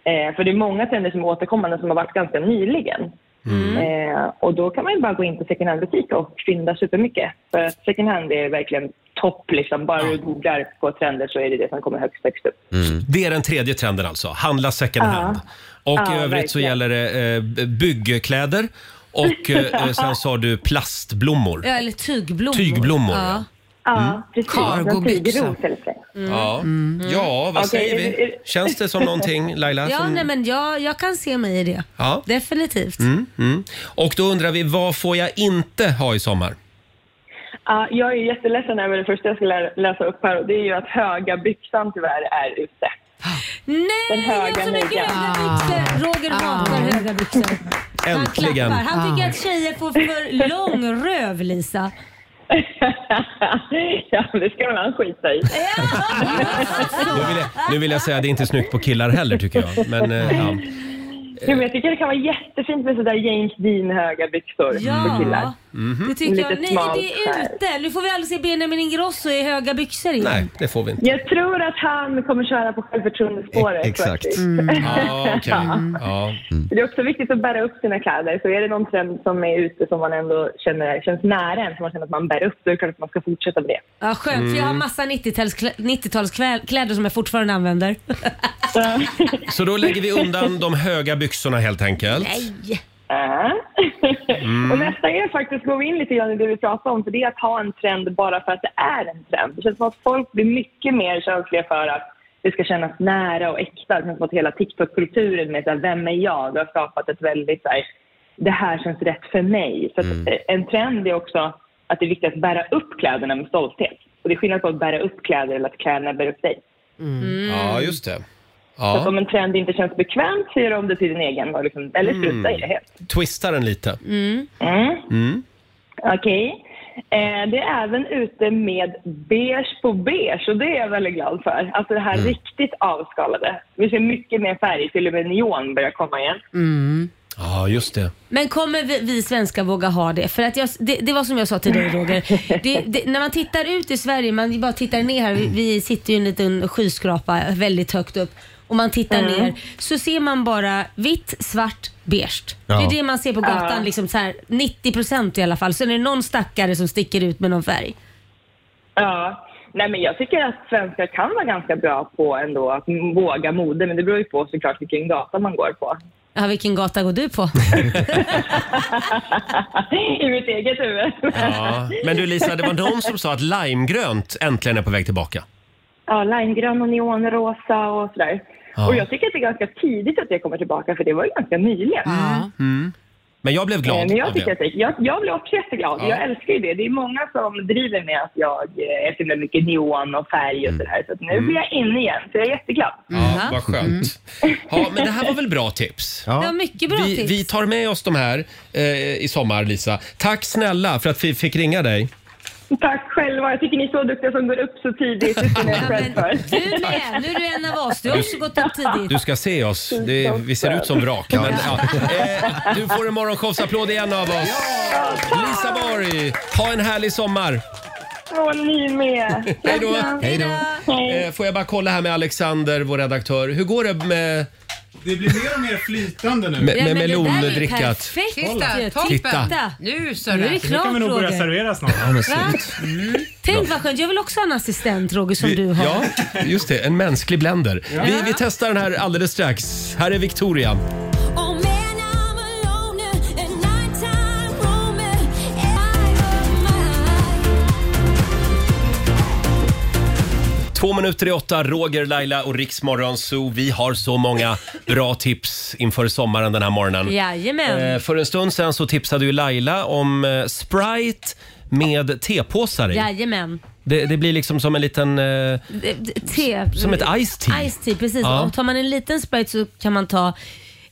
Eh, för det är många trender som är återkommande som har varit ganska nyligen. Eh, och då kan man ju bara gå in på second hand-butik och fynda supermycket. För att second hand är verkligen topp liksom. Bara du googlar på trender så är det det som kommer högst, högst upp.
Det är den tredje trenden alltså, handla second hand. Och
Ja,
i övrigt så
verkligen.
gäller det eh, b- byggkläder och eh, sen sa du plastblommor.
Ja, eller tygblommor.
Tygblommor, Mm.
Ja.
Ja, precis. Någon
Cargobyxa.
tygros eller så.
Mm.
Ja. ja, vad
Okej,
säger
är det- är
vi?
det-
Mm. Känns det som någonting Laila?
Ja,
som-
nej, men jag, jag kan se mig i det.
ja.
Definitivt.
Mm, mm. Och då undrar vi, vad får jag inte ha i sommar?
Ja, jag är ju jätteledsen över det första jag ska lä- läsa upp här och det är ju att höga byxan tyvärr är ute.
Nej,
Den höga
jag som är
midjan.
gröna byxor. Ah. Roger hatar höga byxor.
Äntligen.
Han, klappar.
Ah.
han tycker att tjejer får för lång röv, Lisa.
ja, det ska man skita i. Ah.
Ah. Nu vill, jag, nu vill jag säga att det är inte snyggt på killar heller tycker jag. Men, eh, ja.
Jo, men jag tycker det kan vara jättefint med sådär James Dean-höga byxor
Ja,
för killar.
Mhm.
Mm.
det tycker jag.
Lite
Nej,
smalt
det är
skär.
ute. Nu får vi aldrig se Benjamin Ingrosso i höga byxor igen.
Nej, det får vi inte.
Jag tror att han kommer köra på självförtroendespåret.
E- exakt. Ah, Mm.
faktiskt.
Mm.
Ja, okej. ja.
Det är också viktigt att bära upp sina kläder. Så är det någon trend som är ute som man ändå känner känns nära en, som man känner att man bär upp, då är det klart att man ska fortsätta med det.
Ja, skönt, för
Mm.
jag har massa 90-talskläder 90-talskläder som jag fortfarande använder.
Så då lägger vi undan de höga byxorna helt enkelt.
Nej!
Ja. Äh? Och nästa är faktiskt, går vi in lite grann i det vi pratade om, för det är att ha en trend bara för att det är en trend. Det känns som att folk blir mycket mer känsliga för att det ska kännas nära och äkta. Det känns som att hela TikTok-kulturen med så här, vem är jag, det har skapat ett väldigt så här, det här känns rätt för mig. Så att, eh, En trend är också att det är viktigt att bära upp kläderna med stolthet. Och det är skillnad på att bära upp kläder eller att kläderna bär upp dig.
Mm.
Mm. Ja, just det.
Så att
Ja.
om en trend inte känns bekvämt så gör du om det till din egen, och liksom, eller strunta i det helt.
Twista den lite.
Mm. Okej. Eh, det är även ute med beige på beige och det är jag väldigt glad för. Alltså det här riktigt avskalade. Vi ser mycket mer färg, till och med neon börjar komma igen.
Ja, just det.
Men kommer vi, vi svenskar våga ha det? För att jag, det, det var som jag sa till dig Roger. Det, det, när man tittar ut i Sverige, man bara tittar ner här. Vi, vi sitter ju i en liten skyskrapa väldigt högt upp. Och man tittar ner så ser man bara vitt, svart, beige. Det
Ja.
är det man ser på gatan, liksom så här, 90% i alla fall. Sen är det någon stackare som sticker ut med någon färg.
Ja. Nej, men jag tycker att svenskar kan vara ganska bra på ändå att våga mode, men det beror ju på såklart vilken gata man går på.
Ja, vilken gata går du på?
I mitt eget huvud.
Ja. Men du Lisa, det var någon som sa att limegrönt äntligen är på väg tillbaka.
Ja, limegrön och neonrosa och sådär.
Ja.
Och jag tycker att det är ganska tidigt att det kommer tillbaka, för det var ju ganska nyligen.
Mm. Men jag blev
Eh,
glad
Men
av
jag, tycker
det.
att det, jag, jag blir också jätteglad.
Ja.
Jag älskar ju det. Det är många som driver med att jag eh, är så himla mycket neon och färg och sådär. Så att nu blir jag inne igen, så jag är jätteglad.
Mm.
Mm.
Ja,
Mm.
vad skönt. Ja, men det här var väl bra tips?
Det var mycket bra
Vi,
tips.
vi tar med oss de här eh, i sommar, Lisa. Tack snälla för att vi fick ringa dig.
Tack själva. Jag tycker ni är så duktiga som går upp så tidigt. Det ska ni
Ja,
ha
men,
cred för.
du med, nu är du en av oss. Du har också gått upp tidigt.
Du ska se oss. Det, vi ser ut som vrak. Men, ja. eh, du får en morgonshowsapplåd igen av oss. Lisa Borg, ha en härlig sommar.
Och ni med.
Hej då.
Hej då.
Eh, får jag bara kolla här med Alexander, vår redaktör. Hur går det med,
Det blir mer och mer flytande nu.
med,
Ja,
med
men det där är ju
melondrickat?
Perfekt ju.
Titta,
Titta.
toppen. Nu så
Nu är det
det.
Nu kan
klart
vi nog börja
Roger.
servera snart.
Va? Tänk vad skönt, jag vill också ha en assistent Roger som du har.
Ja, just det. En mänsklig blender. Vi, vi testar den här alldeles strax. Här är Victoria. Två minuter i åtta, Roger, Laila och Riksmorgon Zoo. Vi har så många bra tips inför sommaren den här morgonen.
Jajamän.
Eh, för en stund sen så tipsade ju Laila om eh, Sprite med tepåsar i.
Jajamän.
Det, det blir liksom som en liten... Eh,
D- d- Te.
som ett iced tea.
Ice tea, precis.
Ja.
Och tar man en liten Sprite så kan man ta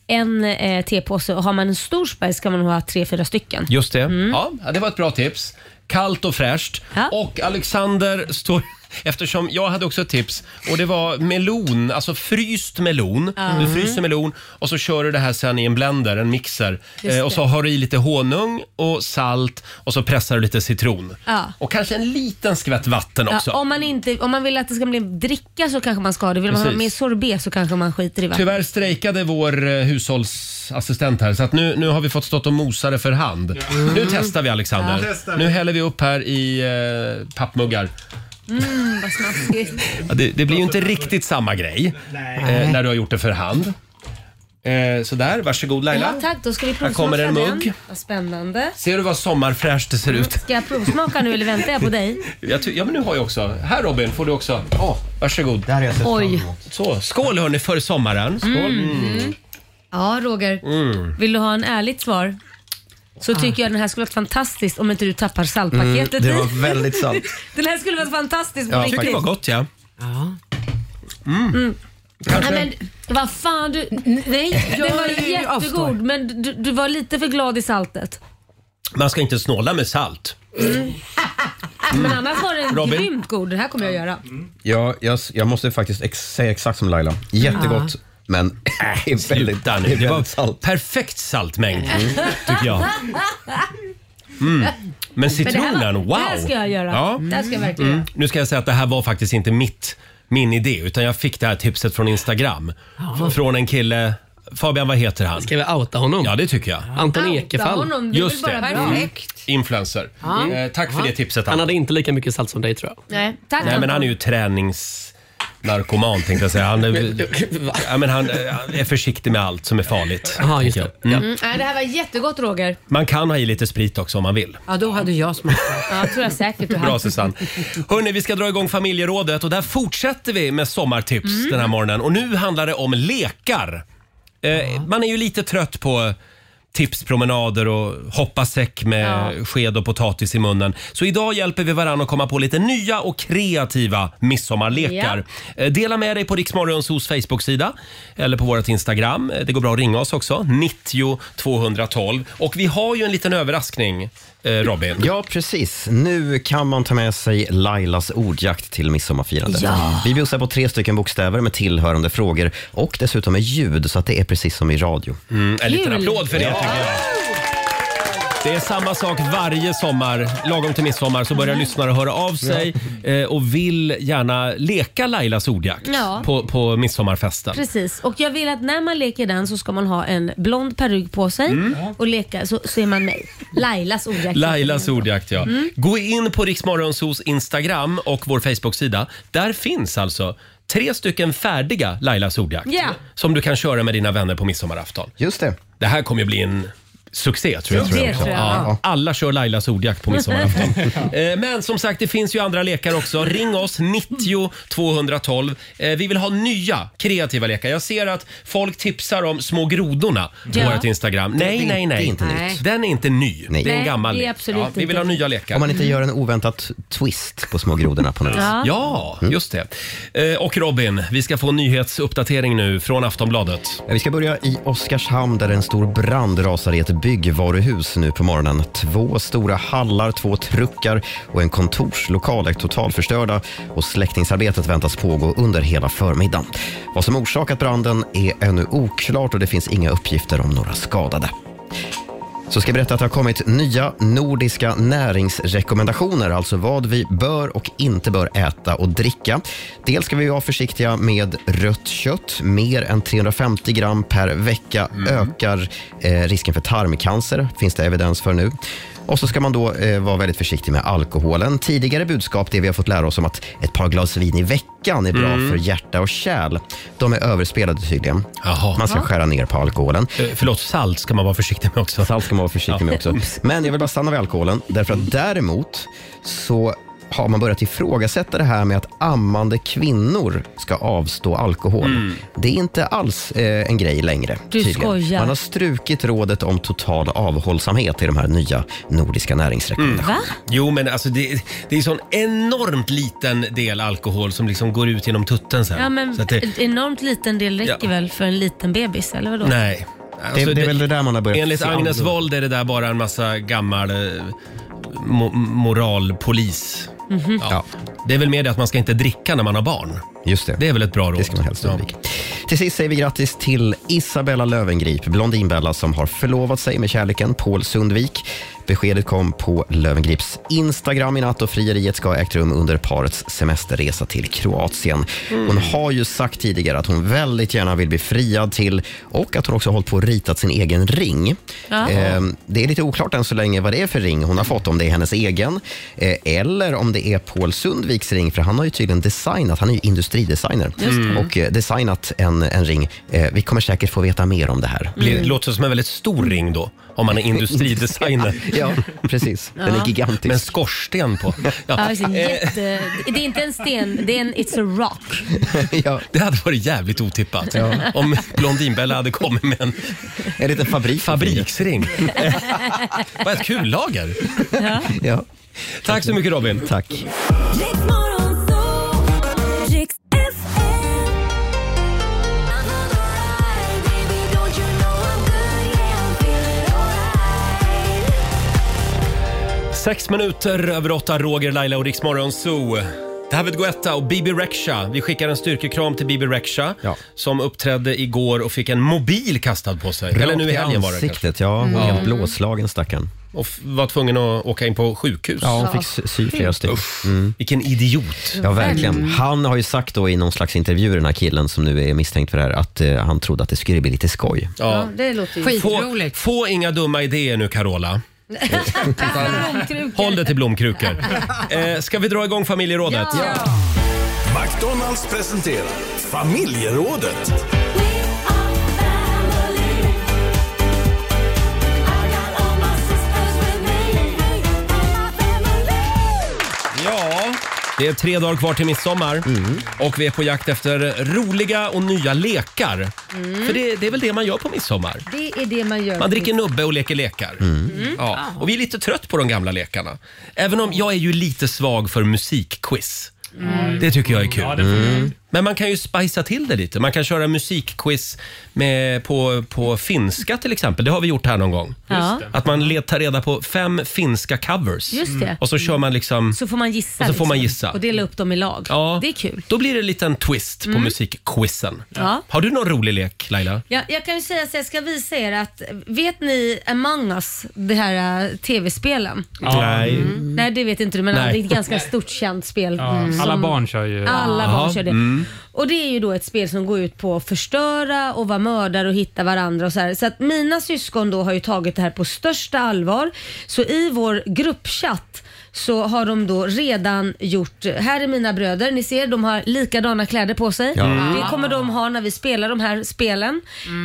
en eh, tepåse och har man en stor Sprite så kan man ha tre, fyra stycken.
Just det. Ja, det var ett bra tips. Kallt och fräscht.
Mm. Ja.
Och Alexander står... Eftersom jag hade också ett tips och det var melon, alltså fryst melon.
Mm.
Du fryser melon och så kör du det här sen i en blender, en mixer.
Just
Eh, och så
det.
har du i lite honung och salt och så pressar du lite citron.
Ja.
Och kanske en liten skvätt vatten
Ja,
också.
om, man inte, om man vill att det ska bli en dricka så kanske man ska ha det. Vill man ha
Precis.
mer sorbet så kanske man skiter i vatten.
Tyvärr strejkade vår eh, hushållsassistent här så att nu, nu har vi fått stått och mosa det för hand. Nu testar vi Alexander.
Testar vi.
Nu häller vi upp här i eh, pappmuggar.
Mm, Vad smaskigt.
Ja, det, det blir ju inte riktigt samma grej eh, när du har gjort det för hand. Eh, sådär, varsågod Laila.
Ja, tack, då ska vi
Här kommer
provsmaka
en mugg.
den. Vad spännande.
Ser du vad sommarfräscht det ser ut?
Ska jag provsmaka nu eller väntar jag på dig?
Jag ty- ja, men nu har jag också. Här Robin får du också. Oh, varsågod.
Det här har jag sett fram
Oj. Mm.
emot.
Så, skål hörni för sommaren. Skål. Mm.
Ja, Roger. Vill du ha en ärligt svar? Så tycker jag den här skulle varit fantastisk om inte du tappar saltpaketet
Mm, Det
i.
var väldigt sant.
Den här skulle varit fantastisk på
Ja,
Jag tycker det
riktigt.
var gott ja. Mm.
Ja.
Kanske.
Mm. Nej, men vad fan du.
Nej,
Den var jättegod men du, du var lite för glad i saltet.
Man ska inte snåla med salt.
Äh, Men annars var den
Mm. Robin?
grymt god. Den här kommer jag göra.
Ja, jag, jag måste faktiskt ex säga exakt som Laila. Jättegott, men det är väldigt, det
Där
är
nu. Det var
väldigt salt.
perfekt saltmängd tycker jag. Mm. Men
Men det här var-
citronen, wow!
Det här ska jag göra.
Ja. Mm.
Det här ska jag verkligen göra.
Nu ska jag säga att det här var faktiskt inte mitt, min idé utan jag fick det här tipset från Instagram. Från en kille, Fabian vad heter han?
Ska vi outa honom?
Ja det tycker jag.
Anton
Outa
Ekefall.
honom. Det är väl
Just
bara
det. Mm.
bra.
Influencer. Eh, tack för det tipset
Han
Anton.
hade inte lika mycket salt som dig tror jag.
Nej, tack
Nej men han är ju träningsnarkoman tänkte jag säga. Han är,
Va?
ja, men han eh, han är försiktig med allt som är farligt.
Jaha, just det.
tänker jag.
Ja.
Mm, nej, det här var jättegott Roger.
Man kan ha i lite sprit också om man vill.
Ja, då hade jag smakat.
Ja, tror jag säkert du
Bra
hade.
Susanne. Hörrni, vi ska dra igång familjerådet och där fortsätter vi med sommartips den här morgonen. Och nu handlar det om lekar. Eh, Man är ju lite trött på tipspromenader och hoppa säck med sked och potatis i munnen. Så idag hjälper vi varandra att komma på lite nya och kreativa midsommarlekar. Eh, Dela med dig på Riksmorgonsos Facebook-sida eller på vårt Instagram. Eh, Det går bra att ringa oss också, 90 212. Och vi har ju en liten överraskning, eh, Robin.
Ja, precis. Nu kan man ta med sig Lailas ordjakt till midsommarfirandet.
Ja.
Vi bjussar på tre stycken bokstäver med tillhörande frågor och dessutom med ljud, så att det är precis som i radio.
Mm, En liten
Kul.
applåd för det tycker jag. Det är samma sak varje sommar. Lagom till midsommar så
Mm.
börjar lyssnare höra av sig eh, och vill gärna leka Lailas ordjakt
Ja.
på, på midsommarfesten.
Precis, och jag vill att när man leker den så ska man ha en blond peruk på sig
Mm.
och leka så, så är man mig. Lailas ordjakt.
Lailas ordjakt, ja.
Mm.
Gå in på Riksmorgonsos Instagram och vår Facebook-sida. Där finns alltså tre stycken färdiga Lailas ordjakt
Ja.
som du kan köra med dina vänner på midsommarafton.
Just det.
Det här kommer ju bli en succé tror jag.
Det tror jag.
Ja, alla kör Lailas ordjakt på midsommarafton. Eh, Men som sagt, det finns ju andra lekar också. Ring oss, 90 212. Eh, Vi vill ha nya kreativa lekar. Jag ser att folk tipsar om små grodorna på
Ja.
vårt Instagram. Nej, nej, nej.
det är inte nytt.
Nej.
Den är inte ny.
Nej.
Det är en
Nej,
gammal
det är
lek.
absolut
ja, Vi vill ha
inte.
nya
Om
lekar.
man inte gör en oväntad twist på små grodorna på något vis. Mm.
Ja.
Ja, just det. Eh, Och Robin, vi ska få en nyhetsuppdatering nu från Aftonbladet.
Vi ska börja i Oskarshamn där en stor brand rasar i ett byggvaruhus nu på morgonen. Två stora hallar, två truckar och en kontorslokal är totalförstörda och släckningsarbetet väntas pågå under hela förmiddagen. Vad som orsakat branden är ännu oklart och det finns inga uppgifter om några skadade. Så ska jag berätta att det har kommit nya nordiska näringsrekommendationer, alltså vad vi bör och inte bör äta och dricka. Dels ska vi vara försiktiga med rött kött. Mer än 350 gram per vecka
Mm.
ökar eh, risken för tarmcancer, finns det evidens för nu. Och så ska man då eh, vara väldigt försiktig med alkoholen. Tidigare budskap, det vi har fått lära oss om att ett par glas vin i veckan är bra
Mm.
för hjärta och kärl. De är överspelade tydligen.
Jaha.
Man ska skära ner på alkoholen.
Eh, Förlåt, salt ska man vara försiktig med också.
Salt ska man vara försiktig med också. Men jag vill bara stanna vid alkoholen, därför att däremot så har man börjat ifrågasätta det här med att ammande kvinnor ska avstå alkohol. Det är inte alls eh, en grej längre.
Du skojar.
Man har strukit rådet om total avhållsamhet i de här nya nordiska näringsrekommendationerna.
Va?
Mm. Jo, men alltså det, det är sån enormt liten del alkohol som liksom går ut genom tutten sen.
Ja, men
Så att det,
En enormt liten del räcker
Ja.
väl för en liten bebis, eller vadå?
nej. Alltså
det, det är väl det där man har börjat
enligt
se
Agnes
annorlunda.
Wold är det där bara en massa gammal eh, mo- moralpolis.
Mhm.
Ja. Det är väl mer det att man ska inte dricka när man har barn.
Just det.
Det är väl ett bra råd.
Det ska man helst
Ja.
undvika. Till sist säger vi grattis till Isabella Lövengrip, Blondinbella som har förlovat sig med kärleken Paul Sundvik. Beskedet kom på Lövengrips Instagram i natt och frieriet ska ha ägt rum under parets semesterresa till Kroatien. Hon har ju sagt tidigare att hon väldigt gärna vill bli friad till och att hon också har hållit på och ritat sin egen ring.
Ja.
Ehm, Det är lite oklart än så länge vad det är för ring hon har fått, om det är hennes egen eh, eller om det är Paul Sundviks ring, för han har ju tydligen designat, han är ju industridesigner och eh, designat en, en ring. Eh, Vi kommer säkert få veta mer om det här.
Blir,
Mm.
Låter som en väldigt stor ring då, om man är industridesigner.
Ja, precis. Den är gigantisk.
Med en skorsten på.
Ja,
Ja. Eh.
alltså, jätte... Det är inte en sten, det är en It's a rock.
ja,
Det hade varit jävligt otippat om Blondinbella hade kommit med en
en liten fabrik.
Fabriksring. Vad ett kul lager.
Ja,
Tack så mycket Robin.
tack.
Sex minuter över åtta, Roger, Laila och Riksmorgon Zoo. David Guetta och Bibi Rexha. Vi skickar en styrkekram till Bibi Rexha
Ja.
som uppträdde igår och fick en mobil kastad på sig. Eller nu i
Mm. Rakt
helgen var det kanske. Mm.
ansiktet, ja. Helt blåslagen stackarn.
Och f- var tvungen att åka in på sjukhus.
Ja, hon fick sy- sy flera stycken.
Vilken idiot.
Ja, verkligen. Han har ju sagt då i någon slags intervju, den här killen som nu är misstänkt för det här, att eh, han trodde att det skulle bli lite skoj.
Ja, det låter ju...
Typ. Få,
Skitroligt.
få inga dumma idéer nu Carola. Håll dig till blomkrukor. Eh, ska vi dra igång familjerådet?
McDonalds presenterar familjerådet.
Ja, det är tre dagar kvar till midsommar och vi är på jakt efter roliga och nya lekar. För det, det är väl det man gör på midsommar.
Mm. Det är det man gör.
Man dricker nubbe och leker lekar. Ja. Och vi är lite trött på de gamla lekarna.
Mm.
Även om jag är ju lite svag för musikquiz. Det tycker jag är kul. Mm.
Ja, det får vi.
Men man kan ju spicea till det lite. Man kan köra musikquiz med, på, på finska till exempel. Det har vi gjort här någon gång.
Ja.
Att man letar reda på fem finska covers.
Just det.
Och så kör man liksom...
Så får man gissa.
Och så får man
liksom.
gissa.
Och dela upp dem i lag.
Ja.
Det är kul. Mm.
Då blir det en liten twist på musikquizen.
Ja.
Har du någon rolig lek Laila?
Ja, jag kan ju säga så jag ska visa er att vet ni Among us, det här eh, tv-spelen?
Nej.
Nej det vet inte du men
Nej.
det är ett ganska stort känt spel. Mm.
Ja, Alla barn kör ju.
Alla
Jaha,
barn kör det.
Mm.
Mm.
Och det är ju då ett spel som går ut på att förstöra och vara mördare och hitta varandra och så här. Så att mina syskon då har ju tagit det här på största allvar. Så i vår gruppchatt så har de då redan gjort, här är mina bröder, ni ser de har likadana kläder på sig. Det kommer de ha när vi spelar de här spelen.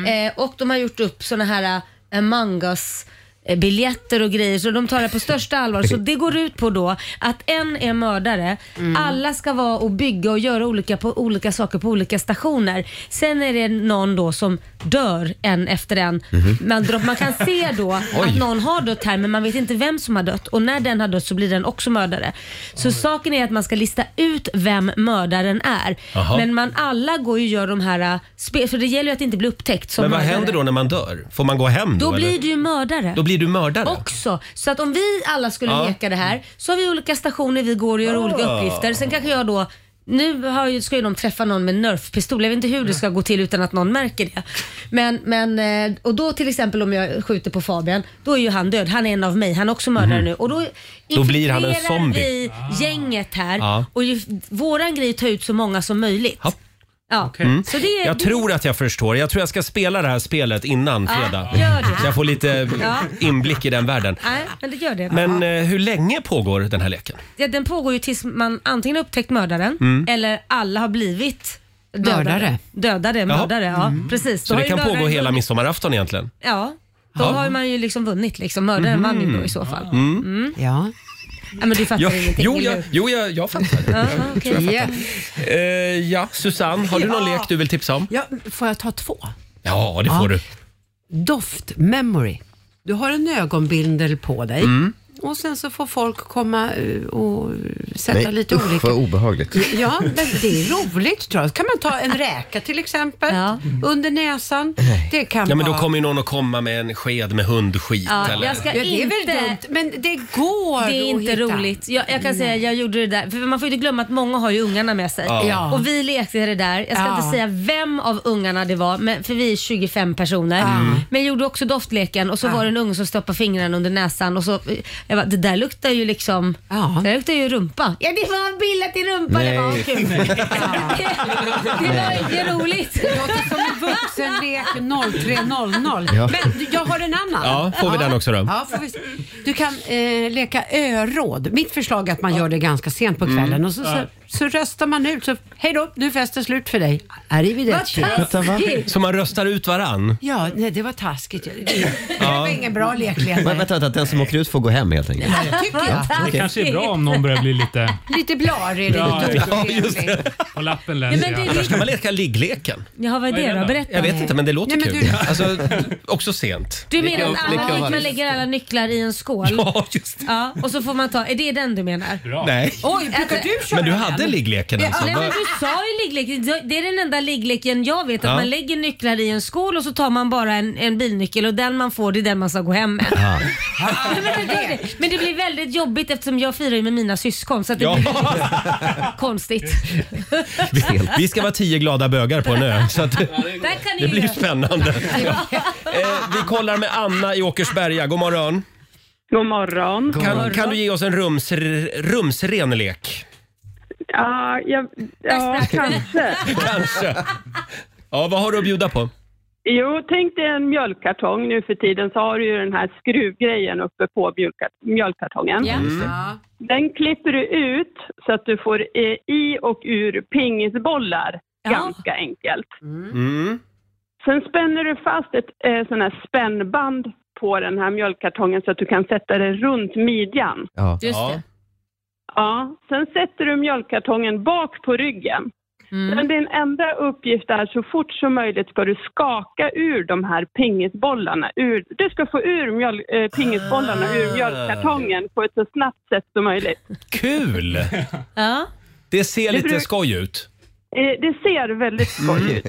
Eh, och de har gjort upp såna här eh, Among us eh, biljetter och grejer så de tar det på största allvar. Så det går ut på då att en är mördare, alla ska vara och bygga och göra olika, på, olika saker på olika stationer. Sen är det någon då som dör en efter en. Man, drar- man kan se då att någon har dött här men man vet inte vem som har dött och när den har dött så blir den också mördare. Så saken är att man ska lista ut vem mördaren är.
Jaha.
Men man alla går ju och gör de här äh, spe- för det gäller ju att inte bli upptäckt som
Men vad
mördare.
händer då när man dör? Får man gå hem då?
Då
eller?
blir du ju mördare
då blir du mördare?
också. Så att om vi alla skulle
Ja. Ah.
leka det här så har vi olika stationer vi går och gör olika uppgifter. Sen kanske jag då nu har ju, ska ju de träffa någon med nerfpistol. Jag vet inte hur
Mm.
det ska gå till utan att någon märker det. Men, men, eh, och då till exempel om jag skjuter på Fabian, då är ju han död. Han är en av mig. Han är också mördare nu. Och då,
Mhm. Då blir han en
infiltrerar
zombie. Ah.
vi gänget här
Ja.
och ju, våran grej är att ta ut så många som möjligt.
Ja.
Ja. Så det,
Mm. Jag
det-
tror att jag förstår. Jag tror jag ska spela det här spelet innan
Ja,
fredag.
gör det.
Så jag får lite
Ja.
inblick i den världen.
Nej, men det gör det.
Men eh, hur länge pågår den här leken?
Ja, den pågår ju tills man antingen har upptäckt mördaren
Mm.
eller alla har blivit dödade.
Mördare.
Dödade, mördare, ja. Precis. Då
Mm. Så
har
det
ju
kan
mördaren
pågå hela
vunnit.
midsommarafton egentligen?
Ja. Då
Ja. Mm.
har man ju liksom vunnit. Liksom. Mördaren vann ju då i så fall.
Ja.
Ja, men du Mm. fattar
Ja,
ingenting,
jo,
eller
jag,
hur?
jo jag, jag fattar.
Ja, okej.
Ja.
Eh, ja, Susanne, har du någon
Ja.
lek du vill tipsa om?
Ja, får jag ta två?
Ja, det får
Ja.
du.
Doft memory. Du har en ögonbindel på dig
Mm.
och sen så får folk komma eh, och sätta lite
usch,
olika...
vad obehagligt.
Ja, men det är roligt tror jag. kan man ta en räka till exempel
Ja.
under näsan. Det kan
Ja, men då
vara-
kommer ju någon att komma med en sked med hundskit.
Ja,
eller?
jag ska
Ja, det är väl
inte-
dumt, men det går
Det är
att
inte
hitta.
roligt. Jag, jag kan säga jag gjorde det där. För man får ju inte glömma att många har ju ungarna med sig.
Ja.
Och vi lekte det där. Jag ska
Ja.
inte säga vem av ungarna det var, men, för vi är 25 personer.
Mm.
Men jag gjorde också doftleken och så var det en unge som stoppade fingrarna under näsan och så... Jag bara, det där luktar ju liksom...
Ja.
Det där luktar ju rumpa. Ja, det var bildat i rumpa. Det var
Nej.
kul. det, det var inte roligt.
låter som en vuxenlek 0300.
Ja.
Men jag har en annan.
Ja, får vi den också då?
Ja, får vi... se. Du kan eh, leka öråd. Mitt förslag är att man gör det ganska sent
Mm.
på kvällen och så, så, så röstar man ut. Så, hej då, nu är festen slut för dig. Arrivederci.
Vad taskigt.
Så man röstar ut varann?
Ja, nej, det var taskigt. Det det var ingen bra leklek.
Men vänta, vänta, den som åker ut får gå hem helt enkelt.
Tycker jag.
Det kanske är bra om någon börjar bli lite
Lite blarig.
Ja,
lite
just
otrevlig.
på lappen läser
men det-
jag.
Där ska man leka liggleken.
Jaha, vad är det då? Berätta.
Jag vet inte, men det låter
Nej, men
kul.
du-
Alltså, också sent.
Du menar att
Lika-
alla,
lika
att man
varje.
lägger alla nycklar i en skål?
Ja, just det.
Ja, och så får man ta, är det den du menar?
Nej.
Oj, brukar du köra
Men du
den?
hade liggleken alltså?
Nej men
Va-
du sa ju ligglek, det är den enda liggleken jag vet att
Ja.
man lägger nycklar i en skål och så tar man bara en, en bilnyckel och den man får det är den man ska gå hem med. Nej, men, det, men det blir väldigt jobbigt eftersom jag firar ju med mina syskon så att det
Ja.
blir konstigt.
Vi- Vi ska vara tio glada bögar på en ö. Så att,
Där kan ni
det
ju
blir
göra.
spännande. Eh, vi kollar med Anna i Åkersberga. God morgon.
God morgon.
Kan, kan du ge oss en rums, rumsren lek?
Ja, jag, ja kanske.
Kanske. Ja, vad har du att bjuda på?
Jo, tänk dig en mjölkkartong. Nu för tiden så har du ju den här skruvgrejen uppe på mjölka- mjölkkartongen.
Ja.
Ja.
Den klipper du ut så att du får eh, i och ur pingisbollar
Ja.
ganska enkelt.
Mm.
Sen spänner du fast ett eh, sån här spännband på den här mjölkkartongen så att du kan sätta det runt midjan.
Ja.
Just
Ja.
det.
Ja, sen sätter du mjölkkartongen bak på ryggen. Men din enda uppgift är så fort som möjligt ska du skaka ur de här pingisbollarna. Ur, du ska få ur mjöl, eh, pingisbollarna ur mjölkkartongen på ett så snabbt sätt som möjligt.
Kul!
Ja.
Det ser lite
bruk-
skoj ut.
Eh, Det ser väldigt
Mm.
skoj ut.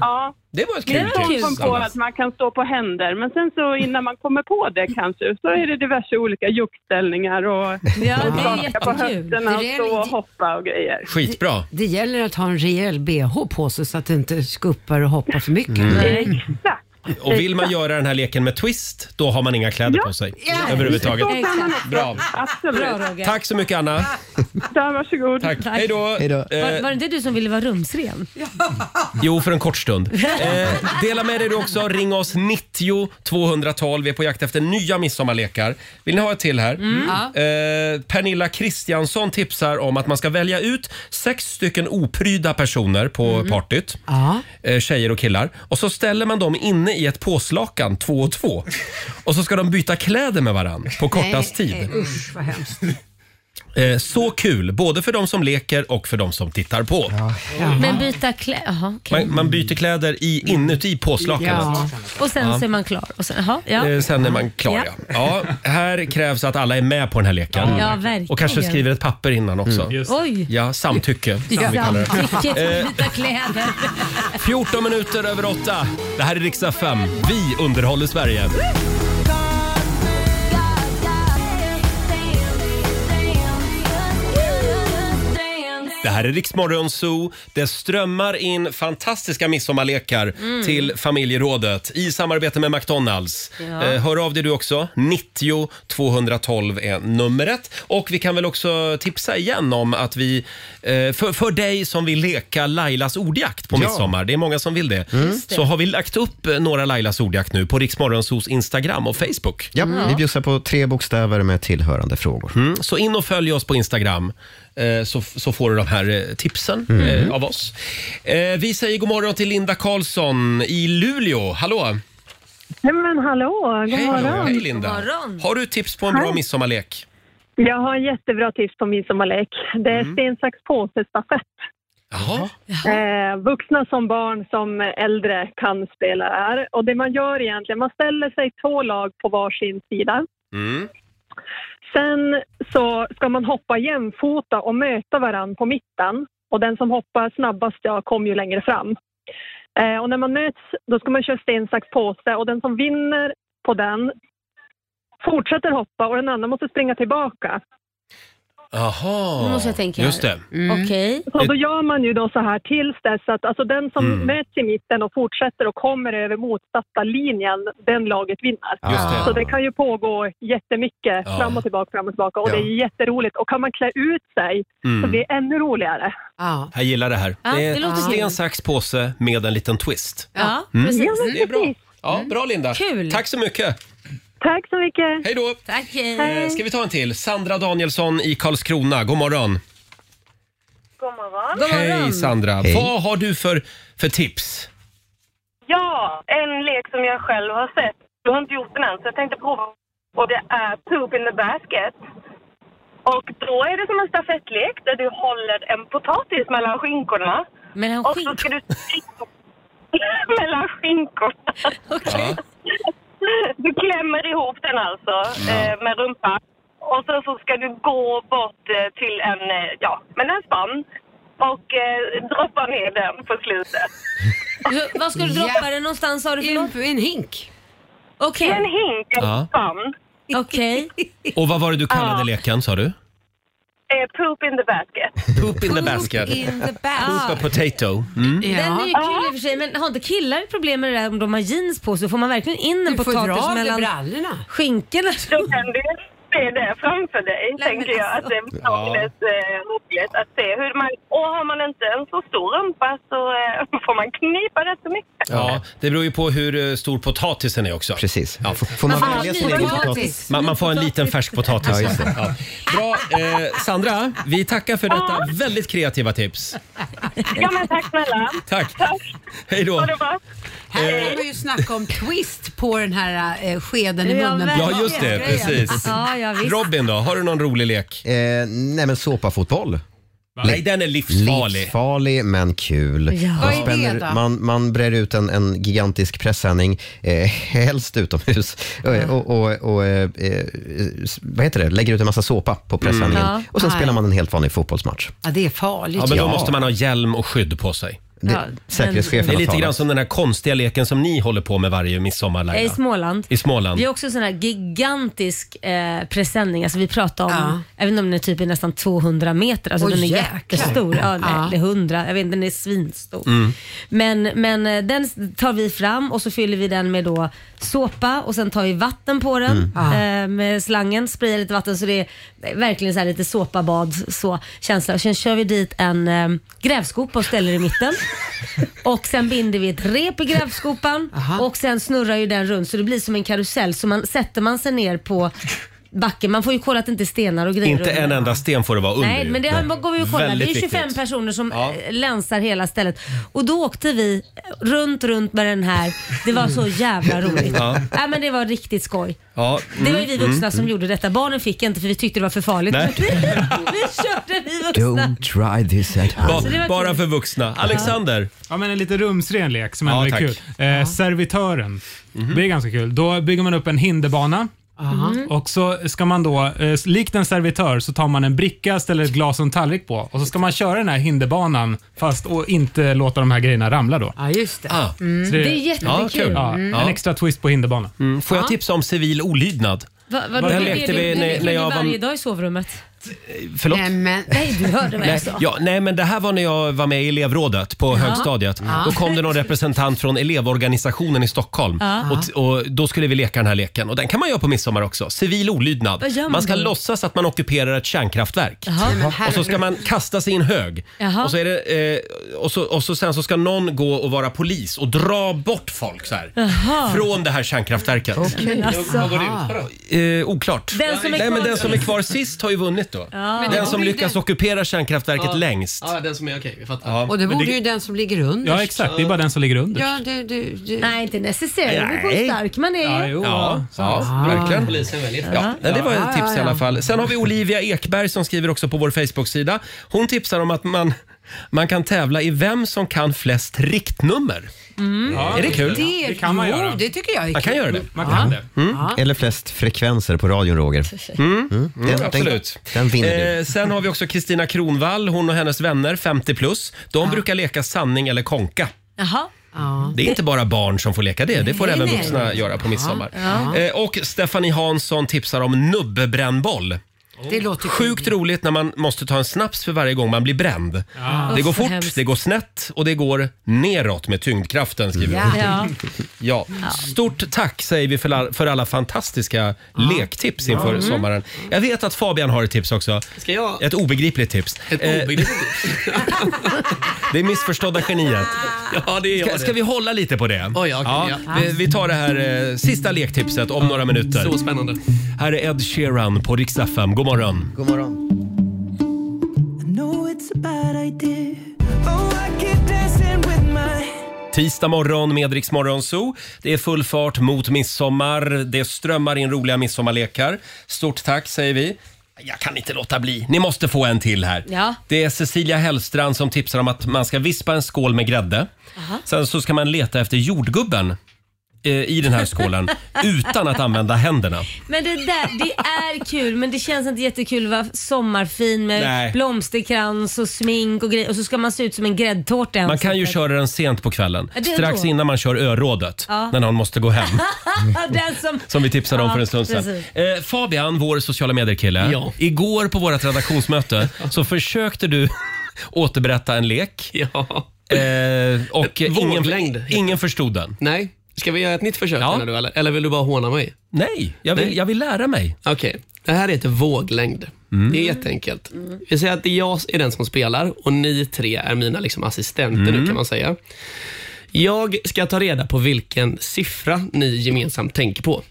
Ja.
Det var ett
Det
kul
är
tips.
kom på att man kan stå på händer, men sen så innan man kommer på det kanske så är det diverse olika juckställningar och
Ja, det är
staka på
jättekul.
höfterna och
Det är
stå och
lite-
hoppa och grejer.
Skitbra.
Det gäller att ha en rejäl bh på sig så att det inte skuppar och hoppar för mycket.
Mm.
Exakt.
Och vill man göra den här leken med twist, då har man inga kläder
Ja.
på sig
Ja.
överhuvudtaget.
Exakt.
Bra.
Absolut.
Bra Roger.
Tack så mycket Anna.
Där, varsågod.
Tack.
Tack.
Hej då.
Hej då.
Var,
Eh,
var det inte du som ville vara rumsren?
jo, för en kort stund. Eh, dela med dig du också. Ring oss 90 212. Vi är på jakt efter nya midsommarlekar. Vill ni ha ett till här? Mm. Eh, Pernilla Kristiansson tipsar om att man ska välja ut sex stycken opryda personer på partyt.
Ja.
eh, tjejer och killar. Och så ställer man dem inne i ett påslakan två och två. Och så ska de byta kläder med varandra på kortast tid.
Usch vad hemskt.
Eh, Så kul, både för de som leker och för de som tittar på.
Men byta kläder, jaha okej.
Man, man byter kläder i, inuti påslakanet.
Ja.
Och sen så är man klar. Och sen, jaha, ja.
Eh, Sen är man klar ja.
Ja.
ja. Här krävs att alla är med på den här leken.
Ja, verkligen.
Och kanske skriver ett papper innan också.
Oj!
Ja, samtycke som vi kallar det. Eh.
Samtycke, byta kläder.
14 minuter över 8. Det här är riksdag 5. Vi underhåller Sverige. Det här är Riksmorgon Zoo. Det strömmar in fantastiska midsommarlekar till familjerådet i samarbete med McDonalds.
Ja.
Eh, hör av dig du också. 90 212 är numret. Och vi kan väl också tipsa igen om att vi, eh, för, för dig som vill leka Lailas ordjakt på midsommar, det är många som vill det,
Mm.
så har vi lagt upp eh, några Lailas ordjakt nu på Riksmorgon Zoos Instagram och Facebook.
Ja, Vi bjussar på tre bokstäver med tillhörande frågor.
Mm, Så in och följ oss på Instagram eh, så, så får du de här eh, tipsen eh, av oss. Eh, Vi säger god morgon till Linda Karlsson i Luleå. Hallå!
Nej, men hallå, god morgon.
Hej Linda!
God morgon.
Har du tips på en bra midsommarlek?
Jag har en jättebra tips på midsommarlek. Det är sten, sax, påse, stafett.
Jaha.
Eh, vuxna som barn som äldre kan spela det här. Och det man gör egentligen, man ställer sig två lag på varsin sida.
Mm.
Sen så ska man hoppa jämfota och möta varandra på mitten. Och den som hoppar snabbast ja, kommer ju längre fram. Eh, och när man möts då ska man köra sten, sax, påse och den som vinner på den fortsätter hoppa och den andra måste springa tillbaka.
Jaha.
Nu måste jag tänka här.
Just det.
Mm.
Okej.
Så
Mm.
då gör man ju då så här tills dess att alltså den som möts i mitten och fortsätter och kommer över motsatta linjen, den laget vinner.
Just det.
Så det kan ju pågå jättemycket
Ja.
fram och tillbaka, fram och tillbaka och
Ja.
det är jätteroligt. Och kan man klä ut sig så
Mm.
blir det ännu roligare.
Ja.
Jag gillar det här.
Ja,
det
det
är
låter
sten,
kul.
sax, påse med en liten twist. Mm.
Ja, precis. Mm.
Det är bra. Ja, bra Linda.
Kul.
Tack så mycket.
Tack så mycket!
Hej då!
Tack, hej.
Eh, Ska vi ta en till? Sandra Danielsson i Karlskrona. God morgon.
God morgon.
God
Hej
morgon.
Sandra. Vad har du för, för tips?
Ja, en lek som jag själv har sett. Jag har inte gjort den än, så jag tänkte prova. Och det är Poop in the basket. Och då är det som en stafettlek där du håller en potatis mellan skinkorna.
Men han
Och så
skink...
ska du sticka mellan skinkorna.
Okej.
Du klämmer ihop den alltså eh, med rumpan. Och sen så ska du gå bort eh, till en, eh, ja, men en spann. Och eh, droppa ner den på slutet.
Hur- Vad ska du droppa den någonstans sa du för
I en,
något?
i en hink.
En
Okej.
hink, en
Ja.
spann.
Okej.
Och vad var det du kallade
Ja.
leken sa du?
Eh, poop in the basket.
Poop in the basket.
Poop in the
Poop a
basket.
potato. Mm.
Den är ju
Ja.
kul i och för sig, men har inte killar problem med det där om de har jeans på sig? Får man verkligen in en
Du får dra
potatis
av dig
mellan
brallorna.
skinkorna?
Då kan du se det framför dig,
Nej,
tänker
men
jag. Att
alltså.
det är väldigt eh, roligt att se hur man... Och har man inte en så stor rumpa så eh, får man knipa rätt så mycket.
Ja, det beror ju på hur eh, stor potatisen är också.
Precis.
Ja.
F- Får man
Vad fan,
välja sin
ny
egen
potatis?
potatis?
Man, man får en liten färsk potatis.
Ja, just det.
Ja. Bra. Eh, Sandra, vi tackar för
Ah.
detta väldigt kreativa tips.
Ja, men tack snälla.
Tack.
Tack.
Hej då. Eh,
Ha det bra.
Här kan man ju snacka om twist på den här eh, skeden i
Ja,
munnen.
verkligen.
Ja, just det. Precis.
Ja, ja visst.
Robin då, har du någon rolig lek?
Eh, nej, men såpafotboll.
Nej, den är livsfarlig.
Livsfarlig men kul.
Ja.
Man
Vad är det
spänner-
då?
Man, man brer ut en, en gigantisk pressändning, eh, helst utomhus, eh, och, och, och, eh, eh, s- vad heter det? lägger ut en massa såpa på pressändningen.
Ja.
Och sen
Nej.
spelar man en helt vanlig fotbollsmatch.
Ja, det är farligt.
Ja, men då måste man ha hjälm och skydd på sig.
Det- Ja, säkerhetschefen
Det är
har
lite
talat.
grann som den här konstiga leken som ni håller på med varje midsommar,
Jag är i
Laila.
Småland.
I Småland.
Vi har också en sån här gigantisk eh, presenning. Alltså vi pratar om,
Ja.
jag vet inte om den är typ i nästan 200 meter. Alltså
Åh,
den är
jäklar.
jättestor. Ja,
Ja.
Eller 100, jag vet inte, den är svinstor.
Mm.
Men, men eh, den tar vi fram och så fyller vi den med då såpa och sen tar vi vatten på den
Mm.
eh, med slangen. Sprayar lite vatten så det är verkligen så här lite såpabad så känsla. Och sen kör vi dit en eh, grävskopa och ställer i mitten. och sen binder vi ett rep i grävskopan och sen snurrar ju den runt så det blir som en karusell. Så man, sätter man sig ner på backen, man får ju kolla att det inte är stenar och grejer
Inte
under.
en enda sten får det vara under.
Nej,
ju.
men det har- går vi och kollar. Det är
Väldigt
25
viktigt.
personer som
Ja.
eh, länsar hela stället. Och då åkte vi runt, runt med den här. Det var så jävla roligt.
Ja.
Nej, men det var riktigt skoj.
Ja,
Det
mm,
var ju vi vuxna
mm,
som
mm.
gjorde detta. Barnen fick inte för vi tyckte det var för farligt.
Nej.
Vi, vi körde vi vuxna.
try this at
Ba-
Så Alltså, det var
bara
kul.
för vuxna. Alexander?
Ja, men en lite rumsren lek som ändå
Ja,
är
tack. Mhm.
kul. Eh, Servitören. Det är ganska kul. Då bygger man upp en hinderbana. Mm.
Mhm.
Och så ska man då, eh, likt en servitör, så tar man en bricka, ställer ett glas och en tallrik på och så ska man köra den här hinderbanan fast och inte låta de här grejerna ramla då.
Ja, just det.
Ah.
Mm. Det är jättekul.
Ja,
Mm.
En extra twist på hinderbanan.
Mm, Får jag
Ja.
tipsa om civil olydnad?
Va, vad
Den
det
lekte
lekte
vi
vi
när- när jag
jag
var-
varje dag i sovrummet.
Förlåt?
Nej, men,
Nej, du hörde vad
Nej,
jag sa.
ja, nej, men det här var när jag var med i elevrådet på högstadiet. Då kom det någon representant från elevorganisationen i Stockholm
Ja.
och, t- och då skulle vi leka den här leken och den kan man göra på midsommar också. Civil olydnad.
Vad gör man
Man ska
då?
låtsas att man ockuperar ett kärnkraftverk.
Jaha. Nej, men
Och så ska
herregud.
man kasta sig i en hög
Jaha.
och så, är det, eh, och, så, och så sen så ska någon gå och vara polis och dra bort folk så här.
Jaha.
Från det här kärnkraftverket.
Men alltså.
Eh, oklart.
Den som är
Nej, men
kvar
den som är kvar sist har ju vunnit då.
Ja.
Den som
blir
lyckas ockupera kärnkraftverket längst.
Ja, den som är okej. Vi fattar.
Ja.
Och det
men
vore ju den som ligger under.
Ja, exakt. Det är bara den som ligger under.
Ja, du, du, du.
Nej, inte necessär. Det beror på hur
Nej.
stark man är.
jo,
Ja, ja verkligen.
Polisen väljer.
Ah. Ja, nej, det var ett
Ah. Ja,
tips
ja,
i alla
ja.
fall. Sen har vi Olivia Ekberg som skriver också på vår Facebook-sida. Hon tipsar om att man, man kan tävla i vem som kan flest riktnummer.
Ja,
Mm.
Är det kul?
Det,
Det kan man
jo,
göra.
det tycker jag är
Man
kul.
kan göra det. Mm.
Man kan det.
Mm. Eller flest frekvenser på radion, Roger. Mm, den,
Absolut.
Den, den vinner du.
Eh, sen har vi också Kristina Kronvall, hon och hennes vänner, 50 plus. De brukar leka sanning eller konka.
Jaha.
Ja.
Det är inte bara barn som får leka det, det får
Nej,
även
nej.
vuxna göra på midsommar. Eh, och Stephanie Hansson tipsar om nubbebrännboll.
Det låter
Sjukt roligt när man måste ta en snaps för varje gång man blir bränd. Det går
Usch, vad
fort,
hemskt.
det går snett och det går neråt med tyngdkraften skriver hon.
Ja.
Ja. Stort tack säger vi för, la- för alla fantastiska lektips inför sommaren. Jag vet att Fabian har ett tips också.
Ska jag...
Ett obegripligt tips.
Ett
Eh,
obegripligt tips.
det är missförstådda geniet.
Ja, det är jag
Ska,
det.
ska vi hålla lite på det?
Oj, ja, okej, ja.
vi, vi tar det här eh, sista lektipset om några minuter.
Så spännande.
Här är Ed Sheeran på Rix FM. God morgon.
God morgon.
Tisdag morgon med Rix Morgon Zoo. Det är full fart mot midsommar. Det strömmar in roliga midsommarlekar. Stort tack säger vi. Jag kan inte låta bli. Ni måste få en till här.
Ja.
Det är Cecilia Hellstrand som tipsar om att man ska vispa en skål med grädde. Sen så ska man leta efter jordgubben eh, i den här skålen utan att använda händerna.
Men det där, det är kul men det känns inte jättekul att vara sommarfin med
Nej.
blomsterkrans och smink och grejer och så ska man se ut som en gräddtårta i
Man kan ju
ansiktet.
köra den sent på kvällen.
Ja, det är
Strax
då.
innan man kör örådet.
Ja.
När någon måste gå hem.
Den som...
Som vi tipsade om
Ja,
för en stund sedan.
precis.
Eh, Fabian, vår sociala medier-kille.
Ja.
Igår på vårt redaktionsmöte så försökte du återberätta en lek.
Ja.
Eh, och
Ett
ingen,
våglängd.
ingen förstod den.
Nej. Ska vi göra ett nytt försök?
Ja.
menar Du, eller? eller vill du bara håna mig?
Nej, jag vill,
Nej.
Jag vill lära mig.
Okej, det här heter våglängd.
Mm.
Det är jätteenkelt. Vi säger att det är jag är den som spelar och ni tre är mina liksom assistenter
Mm.
nu kan man säga. Jag ska ta reda på vilken siffra ni gemensamt tänker på.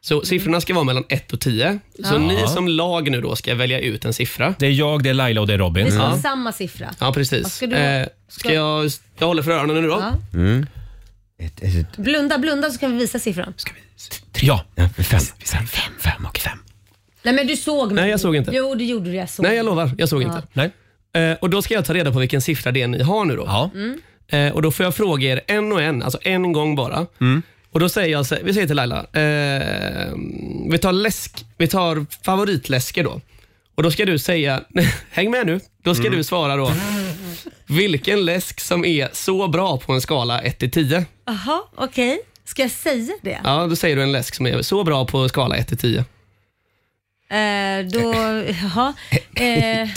Så
Mm.
siffrorna ska vara mellan 1 och 10. Så ni som lag nu då ska välja ut en siffra.
Det är jag, det är Laila och det är Robin.
Det ska vara samma siffra.
Ja, precis.
ska du-
eh, ska
ska-
jag, jag håller för öronen nu då.
Ja.
Mm.
Ett, ett, ett,
Blunda, blunda så kan vi visa siffran.
Ja.
ja, fem.
Fem. Fem och fem.
Nej men du såg mig.
Nej, jag såg inte.
Jo det gjorde du, jag såg.
Nej, jag lovar. Jag såg inte.
Nej.
Eh, och Då ska jag ta reda på vilken siffra det är ni har nu. Då.
Ja.
Eh, och Då får jag fråga er en och en, alltså en gång bara.
Mm.
Och Då säger jag, så- vi säger till Laila, eh, vi tar läsk, vi tar favoritläsker då. Och Då ska du säga, häng med nu, då ska
Mm.
du svara då vilken läsk som är så bra på en skala 1 till 10.
Jaha, okej. Ska jag säga det?
Ja, då säger du en läsk som är så bra på en skala 1 till 10.
Eh, då, jaha. Eh,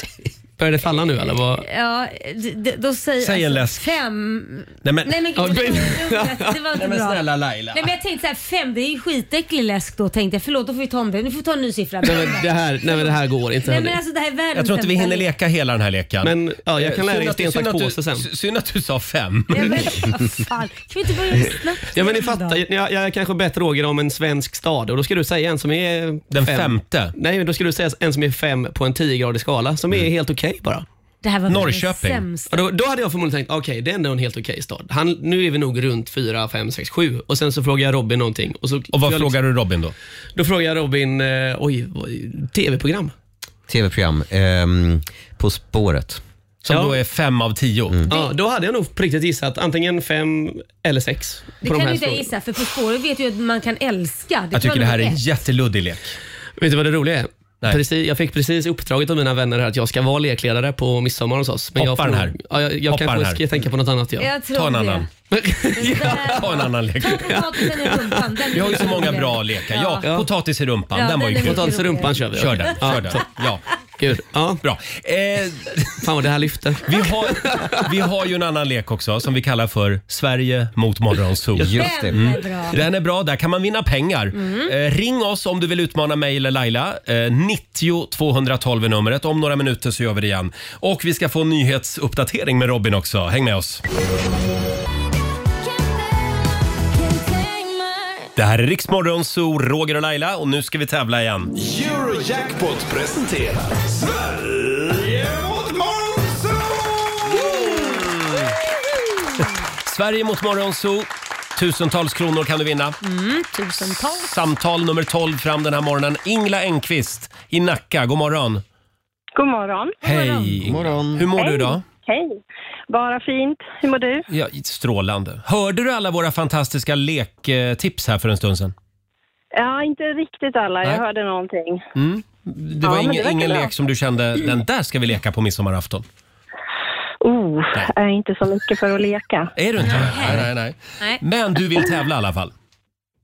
Börjar det falla nu eller? Vad?
ja, d- d- då säger alltså,
Säg en läsk.
Fem.
Nej, men,
Nej men
Ja,
gud, det var inte det var inte
Nej, men
bra.
snälla Laila.
Nej men jag tänkte så här, fem det är ju skitäcklig läsk då tänkte jag. Förlåt, då får vi ta om det. Nu får vi ta en ny siffra.
Nej, men det, här, nej, men det här går inte.
Nej
hörni.
men alltså det här är världens
Jag tror inte vi
sämsta
hinner
läsk.
leka hela den här leken. Eh,
Men ja, jag kan lära er
Synd att-
sten,
synd
sax,
att du-
påse sen.
sy- Synd att du sa fem.
Nej, men, vad fan. Kan vi inte börja snabbt?
Ja men ni
igen då?
fattar, ju. jag, jag kanske bett Roger om en svensk stad och då ska du säga en som är...
Den
fem.
femte. Mm.
Nej, men då ska du säga en som är fem på en 10-gradig skala som är helt okej bara.
Det här var
Norrköping.
Norrköping. sämsta.
Och då, då hade jag förmodligen tänkt, okej det är ändå en helt okej stad. Han, nu är vi nog runt fyra fem sex sju och sen så frågar jag Robin någonting. Och, så,
Och vad
jag, liksom-
frågar du Robin då?
Då frågar jag Robin, eh, oj, oj tv-program?
Tv-program. ehm, på spåret. Mm.
Som
Ja.
då är fem av tio.
Ja, då hade jag nog på riktigt gissat antingen fem eller sex. På de
Det kan
här
du inte
frågorna.
gissa för På spåret vet ju att man kan älska.
Jag tycker det här är en
ett.
jätteluddig lek.
Vet du vad det roliga är?
Nej.
Precis, jag fick precis uppdraget av mina vänner här att jag ska vara lekledare på midsommar hos oss. Men
Hoppa
jag
den
får-
här.
Ja, jag jag
Hoppa
kanske
den här.
ska tänka på något annat. Ja.
Jag tror
Ta en
det.
annan.
Där-
Ta en annan lek.
Ta potatisen i rumpan. Den
Vi har ju
är
så många
rolig.
bra lekar. Ja,
Ja.
potatis i rumpan.
Ja,
den var ju
den är
kul.
mycket
Potatis i rumpan kör vi.
Kör den,
Ja,
kör den. Ja,
Gud. Ja,
bra. Eh,
fan vad det här lyfter.
vi, har, vi har ju en annan lek också som vi kallar för Sverige mot Morgonzoo.
Just det.
Den är bra. Mm.
Den är bra, där kan man vinna pengar. Eh, ring oss om du vill utmana mig eller Laila. Eh, 90 212 är numret. Om några minuter så gör vi det igen. Och vi ska få en nyhetsuppdatering med Robin också. Häng med oss. Det här är Riksmorgon, så Roger och Laila och nu ska vi tävla igen.
Eurojackpot presenterar Sverige mot
Sverige mot Morgonzoo. Tusentals kronor kan du vinna.
Mm,
Tusentals.
Samtal nummer 12 fram den här morgonen. Ingla Engqvist i Nacka. God morgon.
God morgon.
Hej. God
morgon.
Hur mår du idag?
Hej. Bara fint. Hur mår du?
Ja, strålande. Hörde du alla våra fantastiska lektips här för en stund sedan?
Ja, inte riktigt alla.
Nej.
Jag hörde någonting.
Mm. Det var
men det
ingen,
verkar
ingen
bra.
lek som du kände, den där ska vi leka på midsommarafton.
Oh, är inte så mycket för att leka.
Är du inte? Nej, nej, nej.
Nej.
Men du vill tävla i alla fall.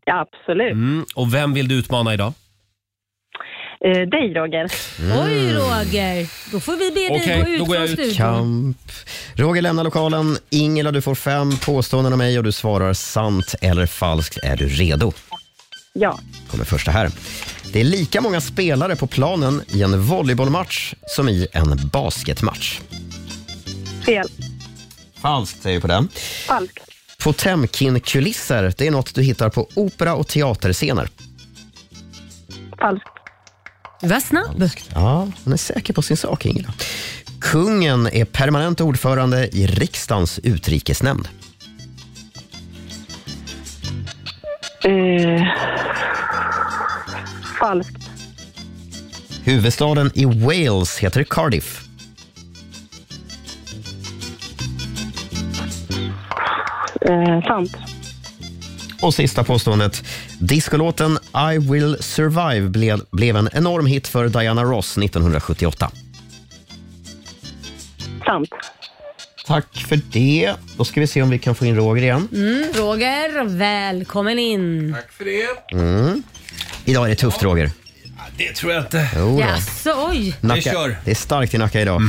Ja, absolut.
Mm. Och vem vill du utmana idag?
Eh, dig, Roger.
Oj Roger, då får vi be dig
Okej,
gå ut
då går jag
från
ut.
studion.
Kamp. Roger lämnar lokalen. Ingela, du får fem påståenden av mig och du svarar sant eller falskt. Är du redo?
Ja.
kommer första här. Det är lika många spelare på planen i en volleybollmatch som i en basketmatch.
Fel.
Falskt säger vi på den.
Falskt.
Potemkin-kulisser, det är något du hittar på opera och teaterscener.
Falskt.
Du var snabb.
Ja, hon är säker på sin sak, Ingela. Kungen är permanent ordförande i riksdagens utrikesnämnd.
Eh, falskt.
Huvudstaden i Wales heter Cardiff.
Eh, sant.
Och sista påståendet. Discolåten I will survive blev, blev en enorm hit för Diana Ross 1978.
Sant.
Tack för det. Då ska vi se om vi kan få in Roger igen.
Mm, Roger, välkommen in.
Mm. Idag är det tufft, Roger.
Det tror jag inte.
Jo då.
Jaså, oj.
Nacka.
Vi kör. Mhm.
Det är starkt i Nacka idag.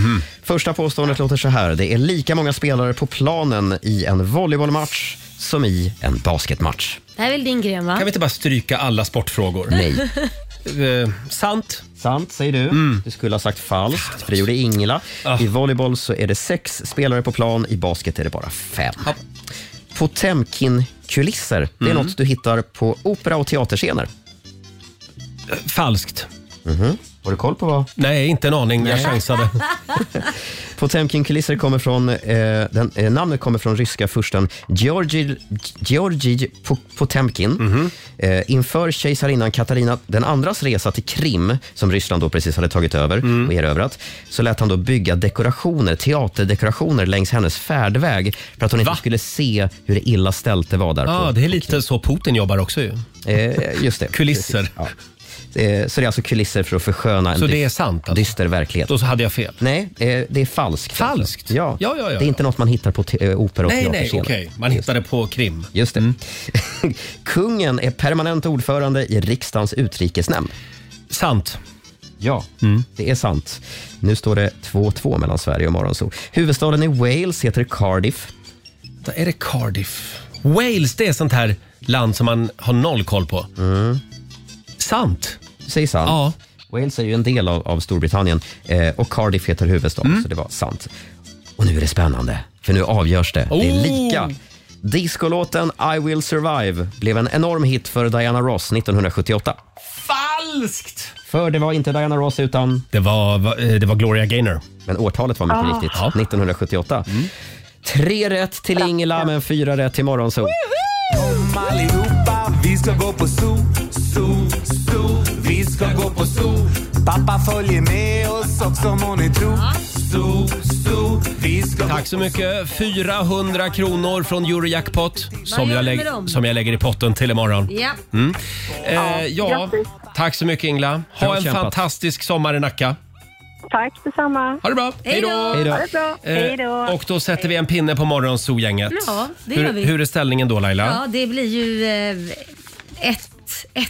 Första påståendet låter så här. Det är lika många spelare på planen i en volleybollmatch som i en basketmatch.
Det här är väl din gren va?
Kan vi inte bara stryka alla sportfrågor?
Nej.
Eh, sant. Mm.
Sant, säger du. Du skulle ha sagt falskt, för det gjorde Ingela.
Ah.
I volleyboll så är det sex spelare på plan, i basket är det bara fem. Potemkin-kulisser, det är
Mm.
något du hittar på opera och teaterscener.
Falskt. Mm-hmm.
Har du koll på vad?
Nej, inte en aning. Jag chansade.
Potemkin-kulisser kommer från, eh, den, eh, namnet kommer från ryska fursten Georgi, Georgi Po- Potemkin.
Mhm.
Eh, inför kejsarinnan Katarina den andras resa till Krim, som Ryssland då precis hade tagit över
Mm.
och erövrat, så lät han då bygga dekorationer, teaterdekorationer längs hennes färdväg för att hon
Va? Ah.
inte skulle se hur illa ställt det var där.
Ja, det är lite så Putin jobbar också ju.
på, eh, just det.
Kulisser.
Ja. Eh, så det är alltså kulisser för att försköna en
Så det
dys-
är sant alltså.
dyster verklighet.
Då så hade jag fel.
Nej, eh, det är falskt.
Falskt?
Ja.
Ja, ja, ja.
Det är inte något man hittar på te- eh, opera och
Nej, nej, okej.
teaterscener.
Man hittade på Krim. Mm.
Just det. Kungen är permanent ordförande i riksdagens utrikesnämnd.
Sant. Mm.
Ja, det är sant. Nu står det 2-2 mellan Sverige och Morgonzoo. Huvudstaden i Wales heter Cardiff.
Vänta, Är det Cardiff? Wales, det är sånt här land som man har noll koll på.
Mm.
Sant.
Säg sant.
Ja.
Wales är ju en del av, av Storbritannien eh, och Cardiff heter huvudstaden,
Mm.
så det var sant. Och nu är det spännande, för nu avgörs det. Det
Oh.
är lika. Discolåten I will survive blev en enorm hit för Diana Ross 1978.
Falskt!
För det var inte Diana Ross utan,
Det var, va- eh, det var Gloria Gaynor.
men årtalet var mycket
Ah.
Ah.
riktigt, 1978.
Mm.
Tre rätt till Ingela, men fyra rätt till Morgonzoo.
Kom allihopa, vi ska gå på zoo, zoo, zoo. Vi ska gå på zoo. Pappa följer med oss också må ni tro. Zoo, zoo. Vi ska
Tack så mycket. 400 kronor från Eurojackpot som
gör du med
jag, lägg-
dem?
som jag lägger i potten till imorgon.
Ja.
Eh, ja, tack så mycket Ingla. Ha
Bra
en
kämpat.
fantastisk sommar i Nacka.
Tack detsamma.
Ha det bra.
Hej då!
Hej då.
Ha det bra.
Eh,
Hej då.
Och då sätter vi en pinne på morgonzoo-gänget.
Ja, det
hur,
gör vi.
hur är ställningen då Laila?
Ja, det blir ju 1-1. ett, Mm.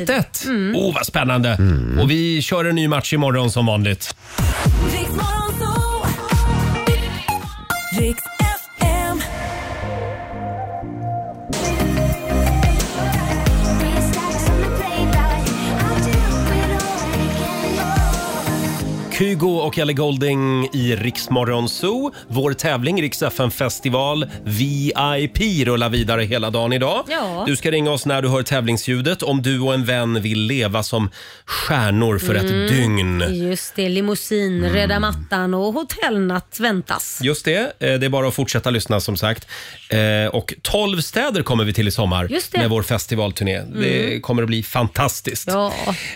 ett.
1-1. Åh, vad spännande.
Mm.
Och vi kör en ny match imorgon som vanligt.
Riks FM.
Kygo och Ellie Golding i Riksmorgon Zoo. Vår tävling Rix FM festival VIP rullar vidare hela dagen idag.
Ja.
Du ska ringa oss när du hör tävlingsljudet om du och en vän vill leva som stjärnor för
Mm.
ett dygn. Mm.
Just det, limousin, röda mattan och hotellnatt väntas.
Just det, eh, det är bara att fortsätta lyssna som sagt. Eh, Och 12 städer kommer vi till i sommar
Just det. Mm.
med vår festivalturné. Det kommer att bli fantastiskt.
Ja.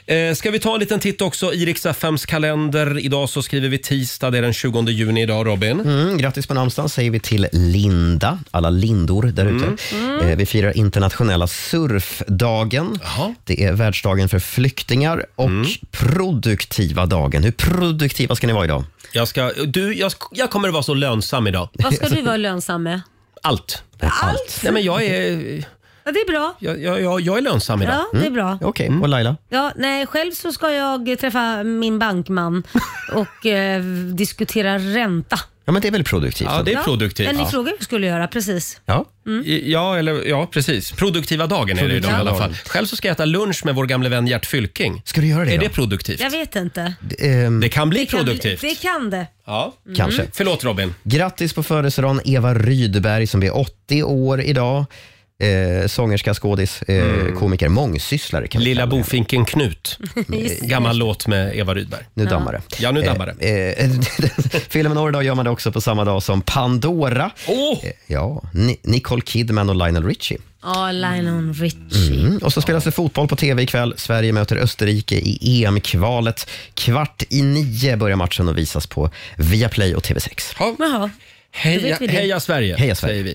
Eh, Ska vi ta en liten titt också i Rix FMs kalender. Idag så skriver vi tisdag, det är den 20 juni idag Robin.
Mm, grattis på namnsdagen säger vi till Linda, alla lindor där ute.
Mm.
Eh, vi firar internationella surfdagen.
Jaha. Mm.
Det är världsdagen för flyktingar och produktiva dagen. Hur produktiva ska ni vara idag?
Jag, ska, du, jag, sk- jag kommer att vara så lönsam idag.
Vad ska du vara lönsam med?
Allt.
Allt.
Nej, men jag, är,
Ja, det är bra.
jag, jag, jag, jag är lönsam idag. Mm.
Ja, det är bra.
Okej, och Laila?
Ja, nej, själv så ska jag träffa min bankman och eh, diskutera ränta.
Ja, men det är väl produktivt?
Ja, det är produktivt.
Men ni
Ja.
frågade hur jag skulle göra, precis.
Ja.
Ja, eller, ja, precis. Produktiva dagen är det idag i alla fall.
dagen.
Själv så ska jag äta lunch med vår gamle vän Gert Fylking.
Ska du göra det
Är
då?
det produktivt?
Jag vet inte.
Ehm, Mm.
Det kan bli
Det kan-
produktivt.
Det kan det.
Ja. Mm.
Kanske.
Förlåt Robin.
Grattis på födelsedagen Eva Rydberg som blir 80 år idag. Eh, sångerska, skådis, eh, komiker, mångsysslare kan vi
Mm. Lilla
kalla det.
bofinken Knut. Eh, Gammal låt med Eva Rydberg.
Nu dammar det.
Ja, nu dammar det.
Eh, eh, filmen Ordag gör man det också på samma dag som Pandora. Eh,
Åh!
Ja, Ni- Nicole Kidman och Lionel Richie.
Ja, Lionel Richie.
Mm. Och så spelas det fotboll på tv ikväll. Sverige möter Österrike i EM-kvalet. Kvart i nio börjar matchen och visas på Viaplay och TV6.
Ja.
Jaha. Då
Heja,
vet vi det.
heja Sverige,
Heja Sverige.
säger vi.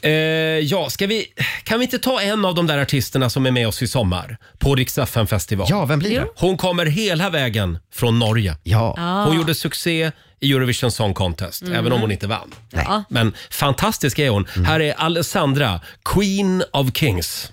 Eh, ja, ska vi. Kan vi inte ta en av de där artisterna som är med oss i sommar på Rix FM festival?
Ja, vem blir det?
Hon kommer hela vägen från Norge.
Ja.
Ah.
Hon gjorde succé i Eurovision Song Contest, även om hon inte vann.
Ja.
Men fantastisk är hon. Här är Alessandra, Queen of Kings.